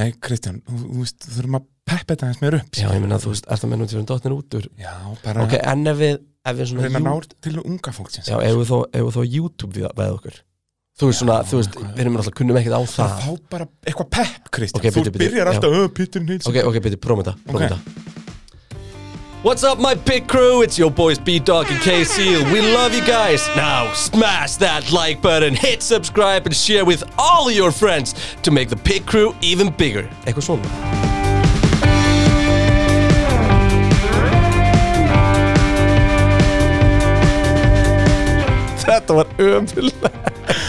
Nei, Kristján, þú, þú veist, þú þurfum að peppa þetta hans mér upp sko. Já, ég meina, þú veist, er það mennum til hún dottin út úr Já, bara Ok, en ef við, ef við svona reyna að jú- ná til unga fólksins Já, ef við þó, ef við þó YouTube við, við okkur Þú veist svona, Já, þú veist, eitthvað. við erum alltaf kunnum ekkert á Það það fá bara eitthvað pepp, Kristján Ok, Þú bíddu, bíddu, byrjar já. alltaf, öh, Pítur Nils Ok, ok, byrju, prófum þetta, prófum Ok. þetta What's up my big crew, it's your boys B-Dog and K-Seal We love you guys Now smash that like button, hit subscribe and share with all your friends To make the big crew even bigger Eitthvað svona Þetta var ömulega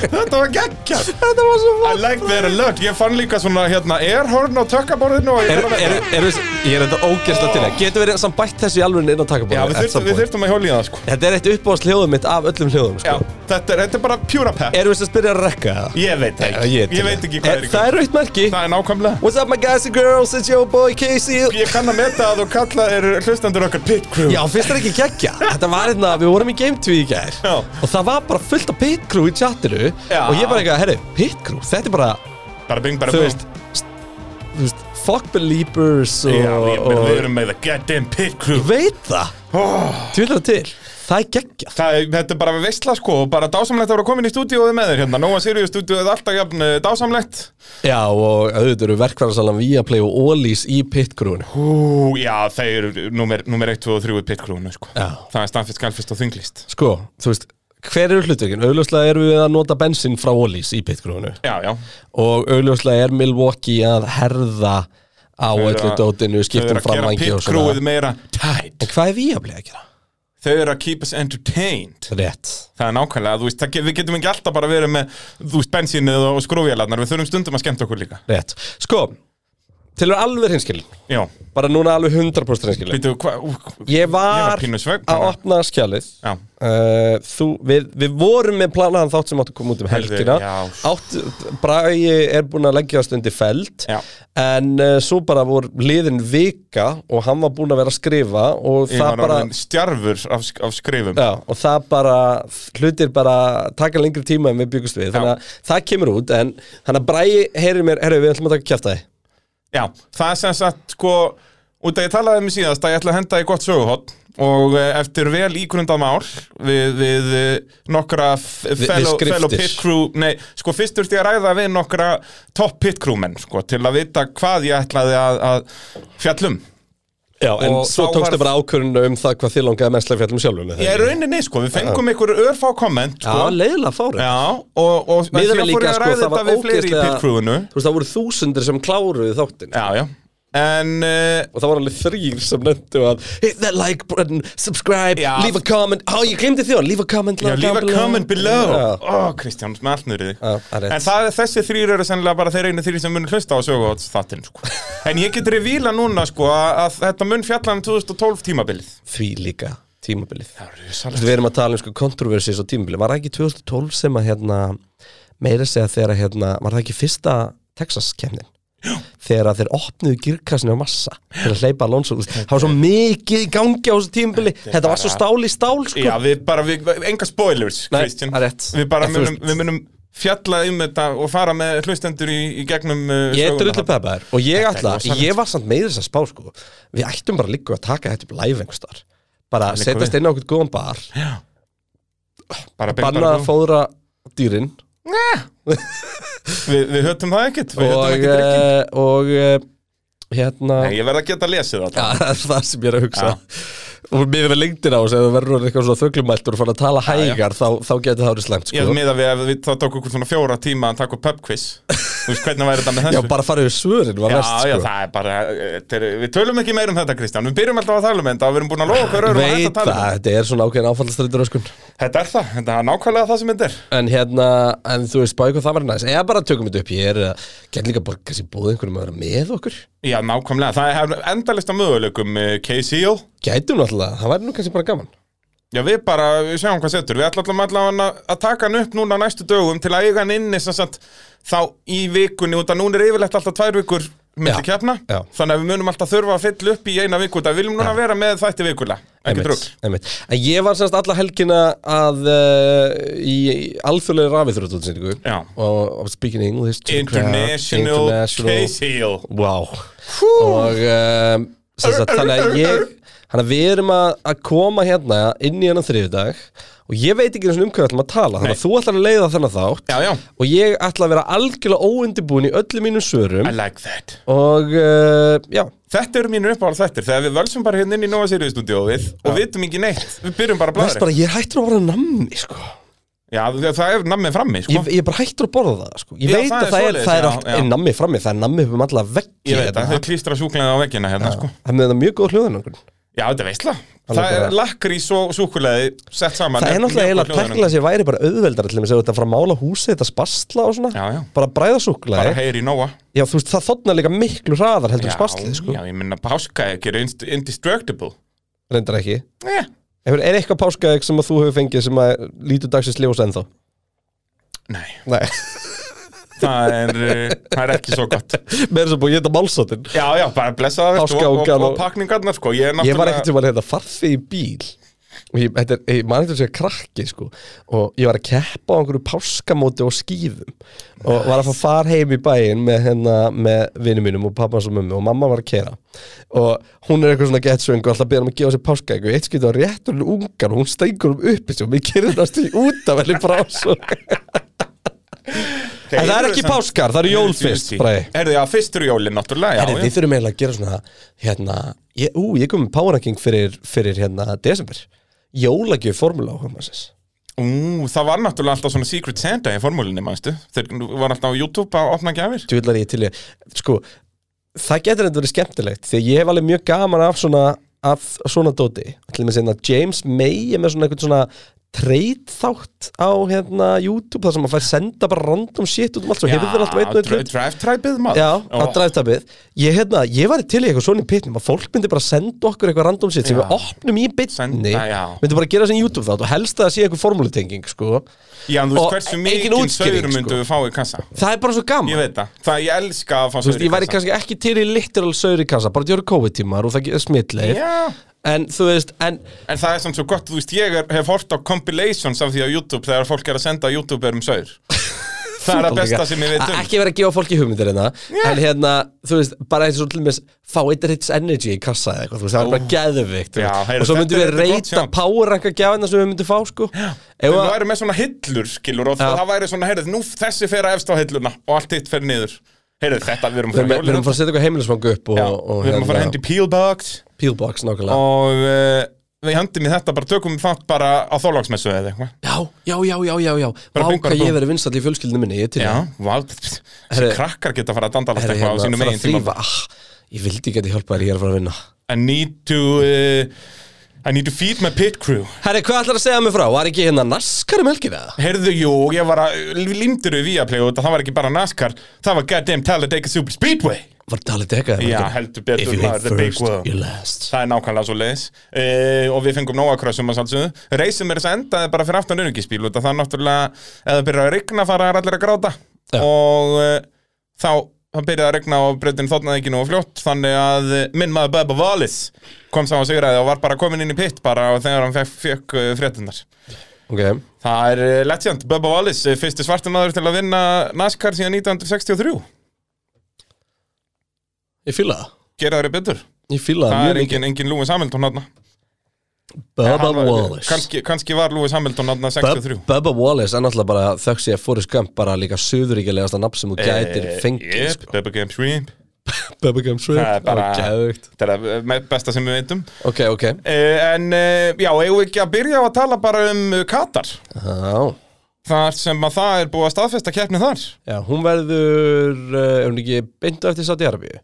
Þetta var geggjað Þetta var svo I like their alert Ég fann líka svona, hérna, airhorn á tökkaborðinu og ég Er, bara- er, er, ég er þetta ógeðslega til það Getur verið samt bætt þessu í alveg inn á Já, takkabóð við þyrftum- við þurftum að hjóla í það, sko Þetta er eitt uppáðast hljóðum mitt af öllum hljóðum Já, sko. þetta er, þetta er bara pjúra pepp Erum við sem að spyrja að rekka það? Ég veit það ekki Ég er til í. veit ekki hvað er í Eh, Það gangi. er rautt merki Það er nákvæmlega What's up my guys and girls, it's your boy Casey Ég kann að meta að þú kalla er hlustendur okkar pit crew Já, fyrst er ekki geggja Þetta var hérna, við vorum í Game 2 í gær Já. Og það var bara fullt af pit crew í chatinu Já. Og ég bara eitthvað, herri, pit crew, þetta er bara, Bara bing, bara þú bing veist st- Þú veist, fuck believers og, Já, ég meina, og við erum með the goddamn pit crew Ég veit það, oh, tvillar til Það er geggja það, er- Þetta er bara veistla sko og bara dásamlegt að vera komin í stúdíóið með þér hérna Nóa Sirius stúdíóið er alltaf jafn eh, dásamlegt Já, og auðvitað eru verkvæðarsalan Viaplay og Ólís í pitgrúinu Hú, já, þeir eru númer, númer 1, 2 og 3 í pit crewinu sko Já. Það er stanfist, galfist og þinglist Sko, þú veist, hver eru hlutverkin? Augljóslega erum við að nota bensín frá Ólís í pitgrúinu Já, já Og augljóslega er Milwaukee að herða á eru öllu að- dótinu, Þau eru að skiptum gera framvangi pit og crewið svona meira tight En hvað er Viaplay að gera? Þau eru að keep us entertained Rétt Það er nákvæmlega, þú veist, það ge- við getum ekki alltaf bara verið með, þú veist, bensínnið og skrúfjarlarnar, við þurfum stundum að skemmta okkur líka. Rétt Sko, til að vera alveg hinskilin Já, Bara núna alveg 100% hinskilin veitu, hvað, ú, Ég var, var pínu svefn, að bara. opna skjalið Já. uh, þú, við, við vorum með planaðan þátt sem átti að koma út um Heyrðu, helgina já. Átt, Bragi er búin að leggja á stundi feld Já. En uh, svo bara voru liðin vika og hann var búin að vera að skrifa Og ég það var bara bara... stjarfur af, sk- af skrifum. Já, og það bara, hlutir bara taka lengri tíma en við byggust við þannig að það kemur út, en þannig að Bragi heyrir mér, herru, við ætlum að taka kjæftæði Já, það er sem sagt, sko, út að ég talaði um í síðast að ég ætla að henda í gott söguhótt og eh, eftir vel ígrundað mál við, við eh, nokkra f- við fellow, skriftir. fellow pit crew, nei, sko fyrst þurfti ég að ræða við nokkra top pit crew menn, sko, til að vita hvað ég ætlaði að, að fjallum. Já, en Og svo þá tókstu var- bara ákvörðinu um það hvað þið langaði mest að um fjallum sjálfum með Ég er rauninni, sko, við fengum einhver örfá komment, Já, sko. leiðilega fárið Já, og, og Miðað síðan fór við líka, ég að sko, ræða það þetta var við fleiri í ógeðslega- pit crewinu Þú veist, það voru þúsundir sem kláruðu þáttin Já, já En uh, og það var alveg þrýr sem nefndu að hit that like button, subscribe, Já. leave a comment á, ég glemdi þjón, leave a comment já, like leave down a comment below Ó, Já. Kristján, með allt nýrið Já, það er rétt. En það, þessi þrýr eru sennilega bara þeir einu þrýr sem mun hlusta á söguhótt þáttinn sko. En ég get revíla núna sko, að að þetta mun fjalla um 2012 tímabilið því líka tímabilið Það eru svolítið við erum að tala um sko kontroversið á tímabilið var það ekki 2012 sem að hérna meira segja þegar að hérna, var það ekki fyrsta Texas kemnin þegar að þeir opnuðu girkassinu á massa til að hleypa Alonso, Þú veist, það var svo mikið í gangi á þessu tímabili, þetta var svo stál í stál sko. Já, við bara, við, enga spoilers, Nei, Kristján það er rétt. Við bara En þú munum, veist- við munum fjalla um þetta og fara með hlustendur í, í gegnum uh, Ég er söguna drullu þarna. peppaður og ég Þetta er ætla, rosalegt. ég var samt meður þess að spá sko Við ættum bara líka að taka þetta upp live einhverstar Bara liggur setjast við. inn á okkur góðan bar Bara bing, Banna bara að fóðra dýrin bú. Við, við höfum það ekkert Við höfum Og, ekki drikkið eh, og eh, hérna Nei, ég verð að geta að lesa það Ja, það er það sem ég er að hugsa Og miðið við lengdina á þess að þú verður eitthvað svona þöglumæltur og fara að tala hægar þá, þá getur það verið slæmt Ég hef sko miðað við að við, það tók okkur svona fjóra tíma að taka upp pub quiz Þú veist hvernig væri þetta með Já, þessu? bara fara yfir svörin var já, verst sko já, það er bara eh, þetta er, Við tölum ekki meir um þetta, Kristján Við byrjum alltaf að tala um þetta og við erum búin að lofa hver öðrum að Veit hætta að tala það, um þetta. þetta er svona ákveðin áfallastreitur öskun Þetta er það, þetta er nákvæmlega það sem þetta er En hérna, en þú veist, bæði hvað það var næst Eða bara tökum þetta upp, ég er að Gæt líka bara kannski búið einhverjum að vera með okkur Já, nákvæmlega, það er endalista möguleikum eh, KCO Gætum náttúrulega, það væri nú kannski bara gaman Já, við bara, við sjáum hvað setur Við ætlum allavega að- að taka hann upp núna næstu dögum til að eiga hann inni sem sagt, þá í vikunni út að núna er yfirlegt alltaf tvær vikur milli Já. keppna Já. þannig að við munum alltaf þurfa að fylla upp í eina vikuta við viljum núna vera með þætti vikula ekki drugg einmitt. En ég var semst alla helgina að uh, í í alþjóðlega rafiðröðutsendingu Já. og speaking English to the crowd, International, international Case Heel Wow Og um, sem sagt, þannig að ég Þannig að við erum að, að koma hérna inn í hennan þriðudag og ég veit ekki einu sinni um hvað við ætlum að tala þannig að þú ætlar að leiða þennan þátt Já, já, og ég ætla að vera algjörlega óundibúin í öllum mínum svörum I like that og uh, já, Þetta eru mínir uppáhald þættir þegar við völsum bara hérna inn í Nova Sirius stúdíóið og vitum ekki neitt, við byrjum bara að veist blæðri bara, ég er hættur að orða namni sko. Já, það- það er nammið frammi, sko ég, ég er bara hættur að borða það sko. ég Já, veit það er að það er, svoleiðis, það er, já, allt- já. er nammi frammi, það er nammi upp um alla veggi Ég veit hérna. að þau klístra súkulega á veggina hérna, sko það er með það mjög góð hljóðanangur Já, þetta er veistla Alveg Það er bara- lakrís og súkulegaði sett saman hérna það mjög er náttúrulega eiginlega góð að pekla sér væri bara auðveldar til þess að þetta fara að mála húsi, þetta spastla og svona Já, já. bara bræða Bara súklaði heyri í Nóa já, þú veist, það þotnar líka miklu hraðar heldur Já, en spastlið, sko, já, ég minna páskaegg er inst- indestructible reyndar ekki yeah. Hefur, er eitthvað páskaðeg sem að þú hefur fengið sem að lítur dagsins ljós ennþá? Nei, Nei, það er, uh, það er ekki svo gott með þess að búið, ég þetta málsóttin Já, já, bara blessa það veist, Páska og, og og, gaman. og pakningarnar, sko Ég, er Ég náttúrulega- var ekkert sem að hérna farfi í bíl og ég, þetta er, ég man eitthvað sem að krakki sko og ég var að keppa á einhverju páskamóti og skýðum og var að fá far heim í bæinn með hérna með vinnum mínum og pappans og mömmu og mamma var að kera og hún er eitthvað svona getsvöng og alltaf beðan um að gefa sér páskaegg og eitt skýtt var réttur hún ungan og hún stengur um uppi sér og mér kerði það stuði út af henni frá svo en Þeir það er eru ekki samt- páskar, það eru jól fyrst bræði Erðu, já, fyrst eru jólin, náttúrulega Herri, já, við þurfum eiginlega að gera svona hérna, ég, ú, ég kom með power ranking fyrir, fyrir hérna desember jólagjöf formúla áhugamannsins já. Ú, það var náttúrulega alltaf svona Secret Santa í formúlinni, mannstu Þeir var alltaf á YouTube að opna gjafir djúlar ég til ég, sko það getur þetta verið skemmtilegt því að ég hef alveg mjög gaman af svona af svona dóti, til með að James May er með svona einhvern svona treyt þátt á hérna YouTube þar sem að fær senda bara random shit út um allt svo hefur þér alltaf einn og einn hlut Drive Tribeð, maður Já, Ó, að dræftabið Ég, hérna, ég var til í eitthvað svona í pitnum að fólk myndi bara senda okkur eitthvað random shit sem Já. við opnum í Senda, bitni já. myndi bara gera þessi YouTube þátt og helst að það sé eitthvað formúlutenging sko. Já, en þú Og veist hversu engin mikinn útskýring, saur sko. myndu við fá í kassa Það er bara svo Ég gaman veit það, það ég elska að fá Þú saur veist, í ég væri kassa kannski ekki til í literal sauri kassa bara til að gera COVID-tímar og það er smitleif Já, en þú veist, en en það er samt svo gott, þú veist, ég er, hef hort á compilations af því á YouTube þegar fólk er að senda YouTuberum saur Það er að besta sem ég veit um ekki vera að gefa fólki hugmyndir hérna en hérna, þú veist, bara eins og til með fá eitt Ritz Energy í kassa eða eitthvað, þú veist, það var bara geðvikt Já, heyrðu, og svo myndum þetta við er- þetta er gott reyta sjón. powerranka gjafina sem við myndum fá, sko Ef Þau að- væri með svona hillur, skilur, og það væri svona, heyrðu, nú þessi fer að efst á hilluna og allt hitt fer niður. Heyrðu, þetta, við erum að Við erum, fara við erum að fara að setja eitthvað heimilismangu upp og, Já, og hérna, við erum að fara að hendi peelbox Peelbox nákvæmlega og uh, við hendum í þetta, bara tökum við það bara á þólagsmessu eða eitthvað. Já, já, já, já, já, já Vá bing, bara hvað búm. ég verið vinstall í fjölskyldinu minni Ég er til Já, í- vál, þessi Heyrðu, krakkar geta að fara að dandalast Herra, eitthvað á sínum hérna, fara að eigin tíma. þrífa ah, Ég vildi geti hjálpa þér, ég er að fara að vinna I need to, uh, I need to feed my pit crew. Herri, hvað ætlar að segja mig frá? Var ekki hérna naskar um helgina? eða? Heyrðu, jú, ég var að, lindur við via play og það var ekki bara NASCAR, það var goddamn Talladega Super Speedway. Var talið dekka Já, heldur betur, If you maður, ain't the big first, world. you're last Það er nákvæmlega svo leiðis uh, og við fengum nóga krössum að sálsögðu Reisum er þess að endaði bara fyrir aftan unnungisbíl og það er náttúrulega, ef það byrjar að rigna fara þær allir að gráta Já. og uh, þá það byrjaði að rigna og breytin þóttnaði ekki nú fljótt þannig að eh, minn maður Bubba Wallace kom sá að sigraði og var bara komin inn í pitt bara og þegar hann fekk, fekk uh, fréttunar Ok, Það er eh, legend, Bubba Wallace, eh, fyrsti svartum maður til að vinna NASCAR síðan 1963 ég fíla það Gera þeirri betur, Ég fíla það það mjög er mikið engin, engin Lewis Hamilton hann Bubba Hann var- Wallace kannski, kannski var Lewis Hamilton hann Bub- 63 Bubba Wallace er náttúrulega bara þöggs ég að fóru skömmt bara líka söðuríkjulegasta nafn sem þú gætir Eh, fengið yep, sko. Bubba Game Shrimp Bubba Gumsrip Það er bara- Gæðugt Þetta er það me- besta sem við veitum Ok, ok uh, En uh, já, eigum við ekki að byrja á að tala bara um eh, Katar Já, Þar sem að það er búið að staðfesta keppni þar já hún verður uh, Er hún ekki beintu eftir Saudi-Arabíu?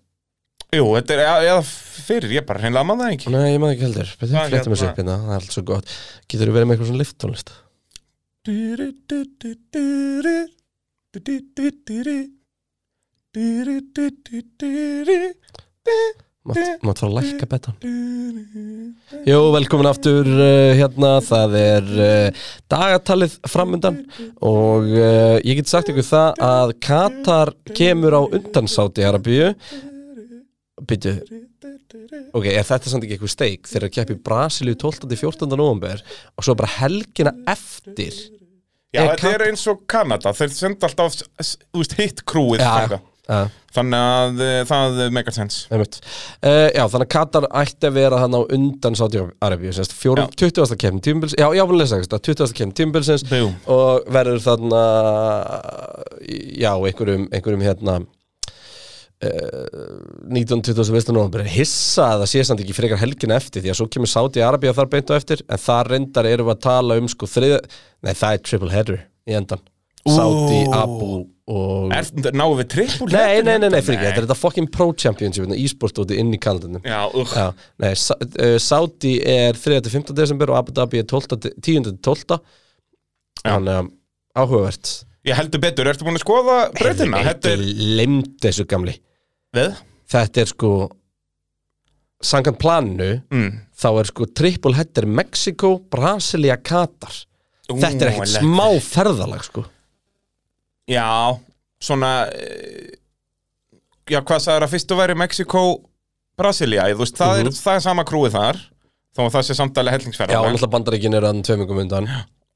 Jú, þetta er, eða- eða fyrir, ég bara hreinlega maður það ekki Nei, ég maður ekki heldur Betur Það er við fléttum þessu hérna- upp hérna, það er allt svo gott Getur þú verið með eitthvað svona lifttónlist? Dýri, dýri, dýri Dýri, dýri, dýri Dýri, dýri, dýri Mátt mátt fara að lækka betan Dýri Jó, velkomin aftur uh, hérna Það er uh, dagatalið framundan Og uh, ég get sagt ykkur það að Katar kemur á undan Saudi-Arabíu Býtu, ok, er þetta samt ekki eitthvað steik þegar að keppi Brasilíu 12. til 14. november og svo bara helgina eftir Já, Er þetta er eins og Kanada, þeir senda alltaf s- s- þú veist, hitt krúið þangað. ja, Þannig að eh, það megar sens einmitt. uh, já, þannig að Katar ætti að vera hann á undan Sáti-Arabíu, semst, fjórum, 20. kemni tímbils, já, já, búin að lesa, semst, 20. kemni tímbilsins Bú. og verður þarna já, einhverjum, einhverjum hérna uh, 19-20. november hissa að það sé samt ekki frekar helgin eftir því að svo kemur Sáti Arabía þar beint á eftir en þar reyndar erum við að tala um sko þriða, nei það er triple header í endan Sáti, Abu og Er, náum við trippul Nei, nei, nei, nei, fyrir þetta er þetta fucking pro championship hérna, e-sport úti inn í kalendunum Já, uh, Já, nei, Sa- uh, Saudi er 3.15. desember og Abu Dhabi er 10.12. Já. Þannig að áhugavert ég heldur betur, ertu búin að skoða breytina? Þetta er Lemd þessu gamli við Þetta er sko Sangan planu mm. Þá er sko triple header Mexiko, Brasilia, Katar Þetta er ekkert smá ferðalag sko Já, svona eh, Já, hvað sagður að fyrstu væri Mexiko, Brasilia Þú veist, það, er, það er sama krúið þar Þó að það sé samtalið Mhm. Já, og hellingsferðar náttúrulega bandaríkin er hann tveimingum undan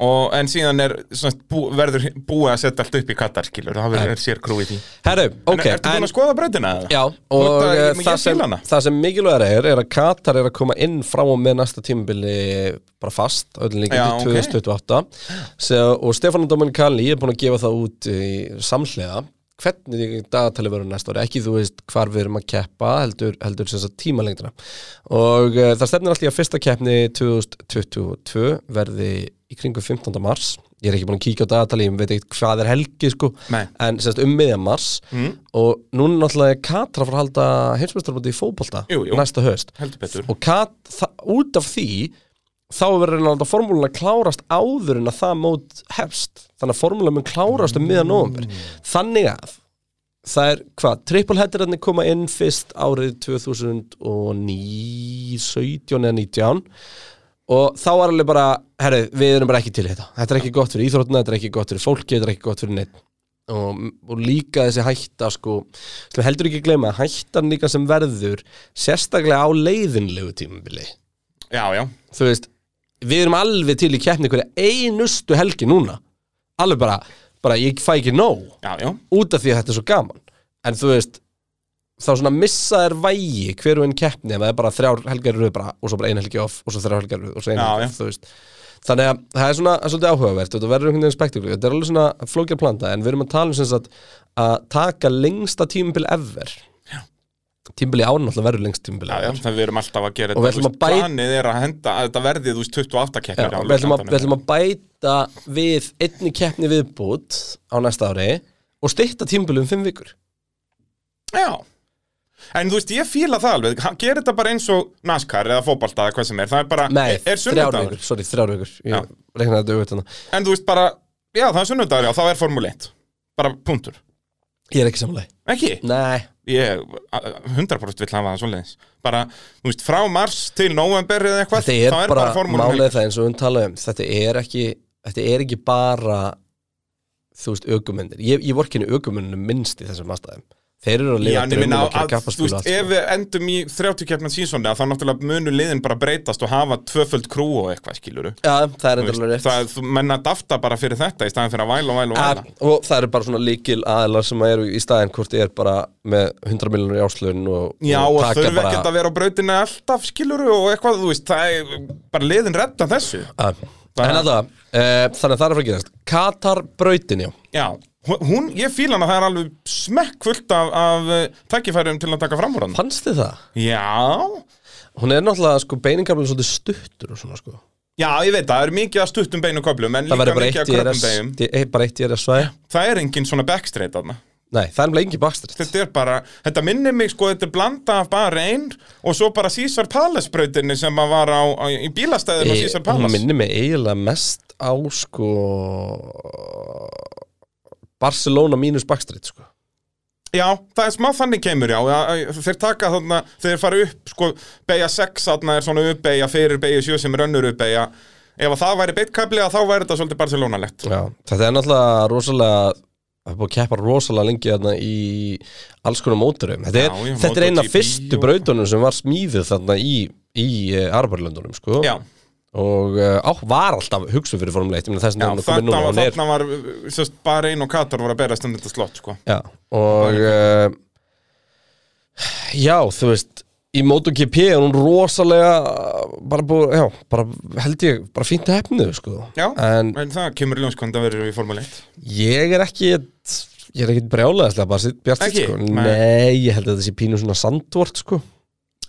og, En síðan er, svona, bú, verður búið að setja allt upp í Katar, skilur Það verður sér krúið því Herru, ok okay, Ertu búin að skoða breytina? eða? Já, Þú og ert að- eh, ég- ég það fíla sem, hana. það sem mikilvægur er er að Katar er að koma inn frá og með næsta tímabili bara fast öllin líka Já, til ok. 2028 so, og Stefán Dominikali er búin að gefa það út eh, í samhlega hvernig dagatali verður næsta ári ekki þú veist hvar við erum að keppa heldur, heldur sem sagt tímalengdina og uh, það stefnir alltaf í að fyrsta keppni 2022 verði í kringum 15. mars ég er ekki búin að kíkja á dagatali, ég veit ekkert hvað er helgi sko Nei, Mm. en semst um miðja mars og núna náttúrulega er Katra að fara að halda heimsmeistarmóti í fótbolta Jú, jú. næsta höst heldur betur og Kat, það, út af því þá er verið náttúrulega formúlan að klárast áður en að það mót hefst þannig að formúlan mun klárast um miðja nóvumber Mm. þannig að það er hvað, triple headerarnir koma inn fyrst árið 2009 17 eða 19 og þá var alveg bara, herri, við erum bara ekki til í þetta þetta er ekki gott fyrir íþróttina, þetta er ekki gott fyrir fólki þetta er ekki gott fyrir neitt og, og líka þessi hætta sko sem heldur ekki að gleyma, hættan líka sem verður sérstaklega á leiðinlegu tímabili Já, já, þú veist, við erum alveg til í keppni hverja einustu helgi núna alveg bara, bara ég fæ ekki nóg já, já út af því að þetta er svo gaman en þú veist þá svona missa þær vægi hver og einn keppni ef það er bara þrjár helgar í röð bara, og svo bara ein helgi off og svo þrjár helgar í röð og svo ein Já, helgi já. off, þú veist þannig að það er svona það er svolítið áhugavert þetta verður einhvern veginn spektaklu þetta er alveg svona flókja planta en við erum að tala um sem sagt að taka lengsta tímubil ever tímubili án alltaf verður lengst tímubili Já, já, það við erum alltaf að gera Og við ætlum þú veist, að bæta- Planið er að henda, að þetta verði, þú veist, 28 Já, keppir á við ætlum, að, Lúkasandinum. við ætlum að bæta við einni keppni viðbútt á næsta ári og stytta tímbilum um fimm vikur Já En þú veist, ég fíla það alveg, Ha- gerir þetta bara eins og NASCAR eða fótbalta eða hvað sem er, það er bara, Nei, er þrjár sunnudagur, vikur, sorry, þrjár vikur Já. Ég reiknaði þetta auðvitað hana. en þú veist bara, já það er sunnudagur, já þá er Formule 1, bara punktur, Ég er ekki samlega ekki, Nei, ég, a- a- 100% vill hafa það svoleiðis, bara, þú veist, frá mars til november eða eitthvað, þetta er, þá bara, Formule 1, málið það eins og við talaðum um. þetta er ekki, þetta er ekki bara þú veist, ökumendir Ég, ég vor ekki henni ökumennum minnst í þessum aðstæðum Þeir eru að já, lifa en ég draumum minna og gera að, þú kappaspil og veist, allt, sko. ef við endum í 30 keppna sínsónlega, þá náttúrulega munu liðin bara breytast og hafa tvöföld krú og eitthvað, skiluru, Já, það er þú endur veist, alveg rétt það, þú menna dafta bara fyrir þetta í staðan fyrir að væla og væla og Að, væla. og það eru bara svona líkil aðlar sem eru í staðinn hvort ég er bara með 100 miljonur í áslun og, Já, og og taka þurfi bara- ekkert að vera á brautinu alltaf, skiluru, og eitthvað, þú veist, það er bara liðin redda þessu. að, en alltaf, e, þannig að það er að fara að gerast Katar brautin, já Já, hún- hún, ég fíla hana, það er alveg smekk fullt af, af eh, tækifærum til að taka fram úr hann. fannst þið það? Já, hún er náttúrulega sko beiningarlega svolítið stuttur og svona sko já, ég veit, það er mikið að stuttum beinu köflum, en það líka verður bara mikið eitt að í kröpum RS beinum. di- eh, bara eitt í RS svæði Það er engin svona backstraight þarna. nei, það er nefnilega engin bakstrætt Þetta er bara, þetta minnir mig sko, þetta er blanda af bara einn og svo bara César Palace brautinni sem að var á, á, í bílastæðinu á César Eh, hún Palace. minnir mig eiginlega mest á sko Barcelona mínus bakstrætt sko Já, það er smá þannig kemur, já, já Þeir taka þarna, þeir fara upp sko, Beigja 6 þarna er svona uppbeigja Fyrir beigja 7 sem er önnur uppbeigja Ef að það væri beitkabli að þá væri þetta svolítið Barcelona-legt já, þetta er náttúrulega rosalega Það er búið að keppa rosalega lengi þarna í alls konar móturum. Þetta er, Já, já, þetta er eina MotoGP fyrstu og- brautunum sem var smíðið þarna í, í uh, Arbarlöndunum, sko. Já, Og uh, á, var alltaf hugsu fyrir formuleitt, ég meina þess já að hún er þarna komin núna, var, hún er... þarna var sérst, bara einn og Katar voru að berast um þetta slott sko. Já, og... Uh, já, þú veist, í MotoGP er hún rosalega uh, bara búið, já, bara held ég, bara fínt hefnið, sko. Já, En en það kemur í ljós hvernig það verður í Formule 1 Ég er ekki Ég er ekkert brjálæðislega bara sitt bjart Ekki? sko. Nei. Nei, ég held að þetta sé pínu svona sandvort sko.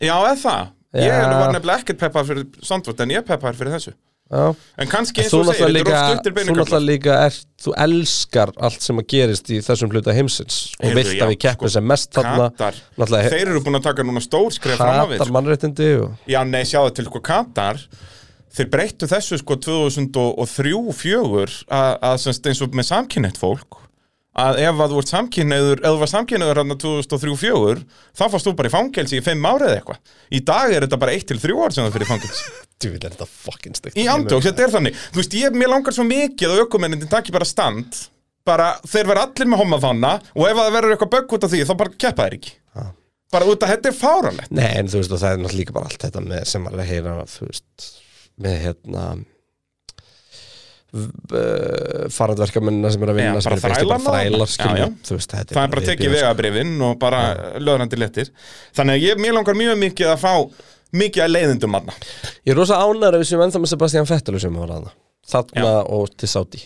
Já, eða það Ég Já. var nefnilega ekkert peppar fyrir Sandvort en ég er peppar fyrir þessu Já. En kannski eins Þú og þú segir, þetta náttúrulega er of líka, stuttir þú náttúrulega beinugallar líka er, Þú elskar allt sem að gerist í þessum hluta heimsins og Heyrðu, vilt já, að við keppum sko, sem mest þarna Katar, Náttúrulega þeir eru búin að taka núna stór skref fram á við hatar sko. mannréttindi og... Já, nei, sjáðu til hvað Katar Þeir breyttu þessu sko 2003-04 að semst eins og með samkynneitt fólk að ef að þú ert samkynniður ef þú var samkynniður hann 2003-04 þá fórst þú bara í fangelsi í 5 ára eða eitthvað í dag er þetta bara 1-3 ár sem það fyrir fangelsi Þú vil er þetta fucking stegt í andjóks, þetta er þannig þú veist, ég, mér langar svo mikið að aukumennindin takki bara stand bara, þeir verða allir með homma þanna og ef að það verður eitthvað bögg út af því þá bara keppa þeir ekki Ha. bara út af þetta er fáralegt Nei, en þú veist, og það er náttúrulega líka bara allt þetta með, sem maður er að heyra, þú veist, með hérna v- eh, farandverkamennina sem er að vinna Já, sem bara eru basically bara þrælana. þrælar, Já, já. skilja, þú veist, þetta það er bara að tekið viðbjóðs- vegabrifin og bara löðrandi lettir þannig að ég, mér langar mjög mikið að fá mikið að leiðindum manna Ég er rosa ánæður við sem ennþá með Sebastian Vettel sem var aðna, þarna og til Saudi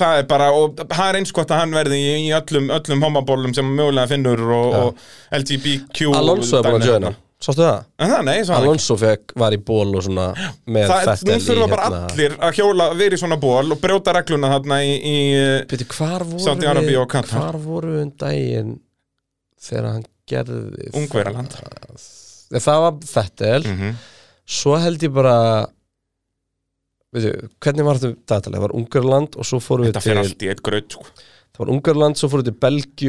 það er bara, og það er eins gott að hann verði í, í öllum, öllum homabólum sem hann mögulega finnur og, og LGBTQ Alonso er búin að dæmi. joina, sástu það? en það, nei, svo hann Alonso fekk, var í ból og svona með Það, hérna- nú Vettel hérna, þurfa bara allir að hjóla verið svona ból og brjóta regluna þarna í, í Býtu, hvar voru Saudi-Arabíu og Katar. hvar voru við um daginn þegar hann gerði Ungverjaland Nei, það var Fettel mm svo held ég bara veitu, hvernig var þetta um dagatalið? það var Ungarland og svo fórum við Þetta til fyrir allt í eitt gröð sko. það var Ungarland, svo fórum við til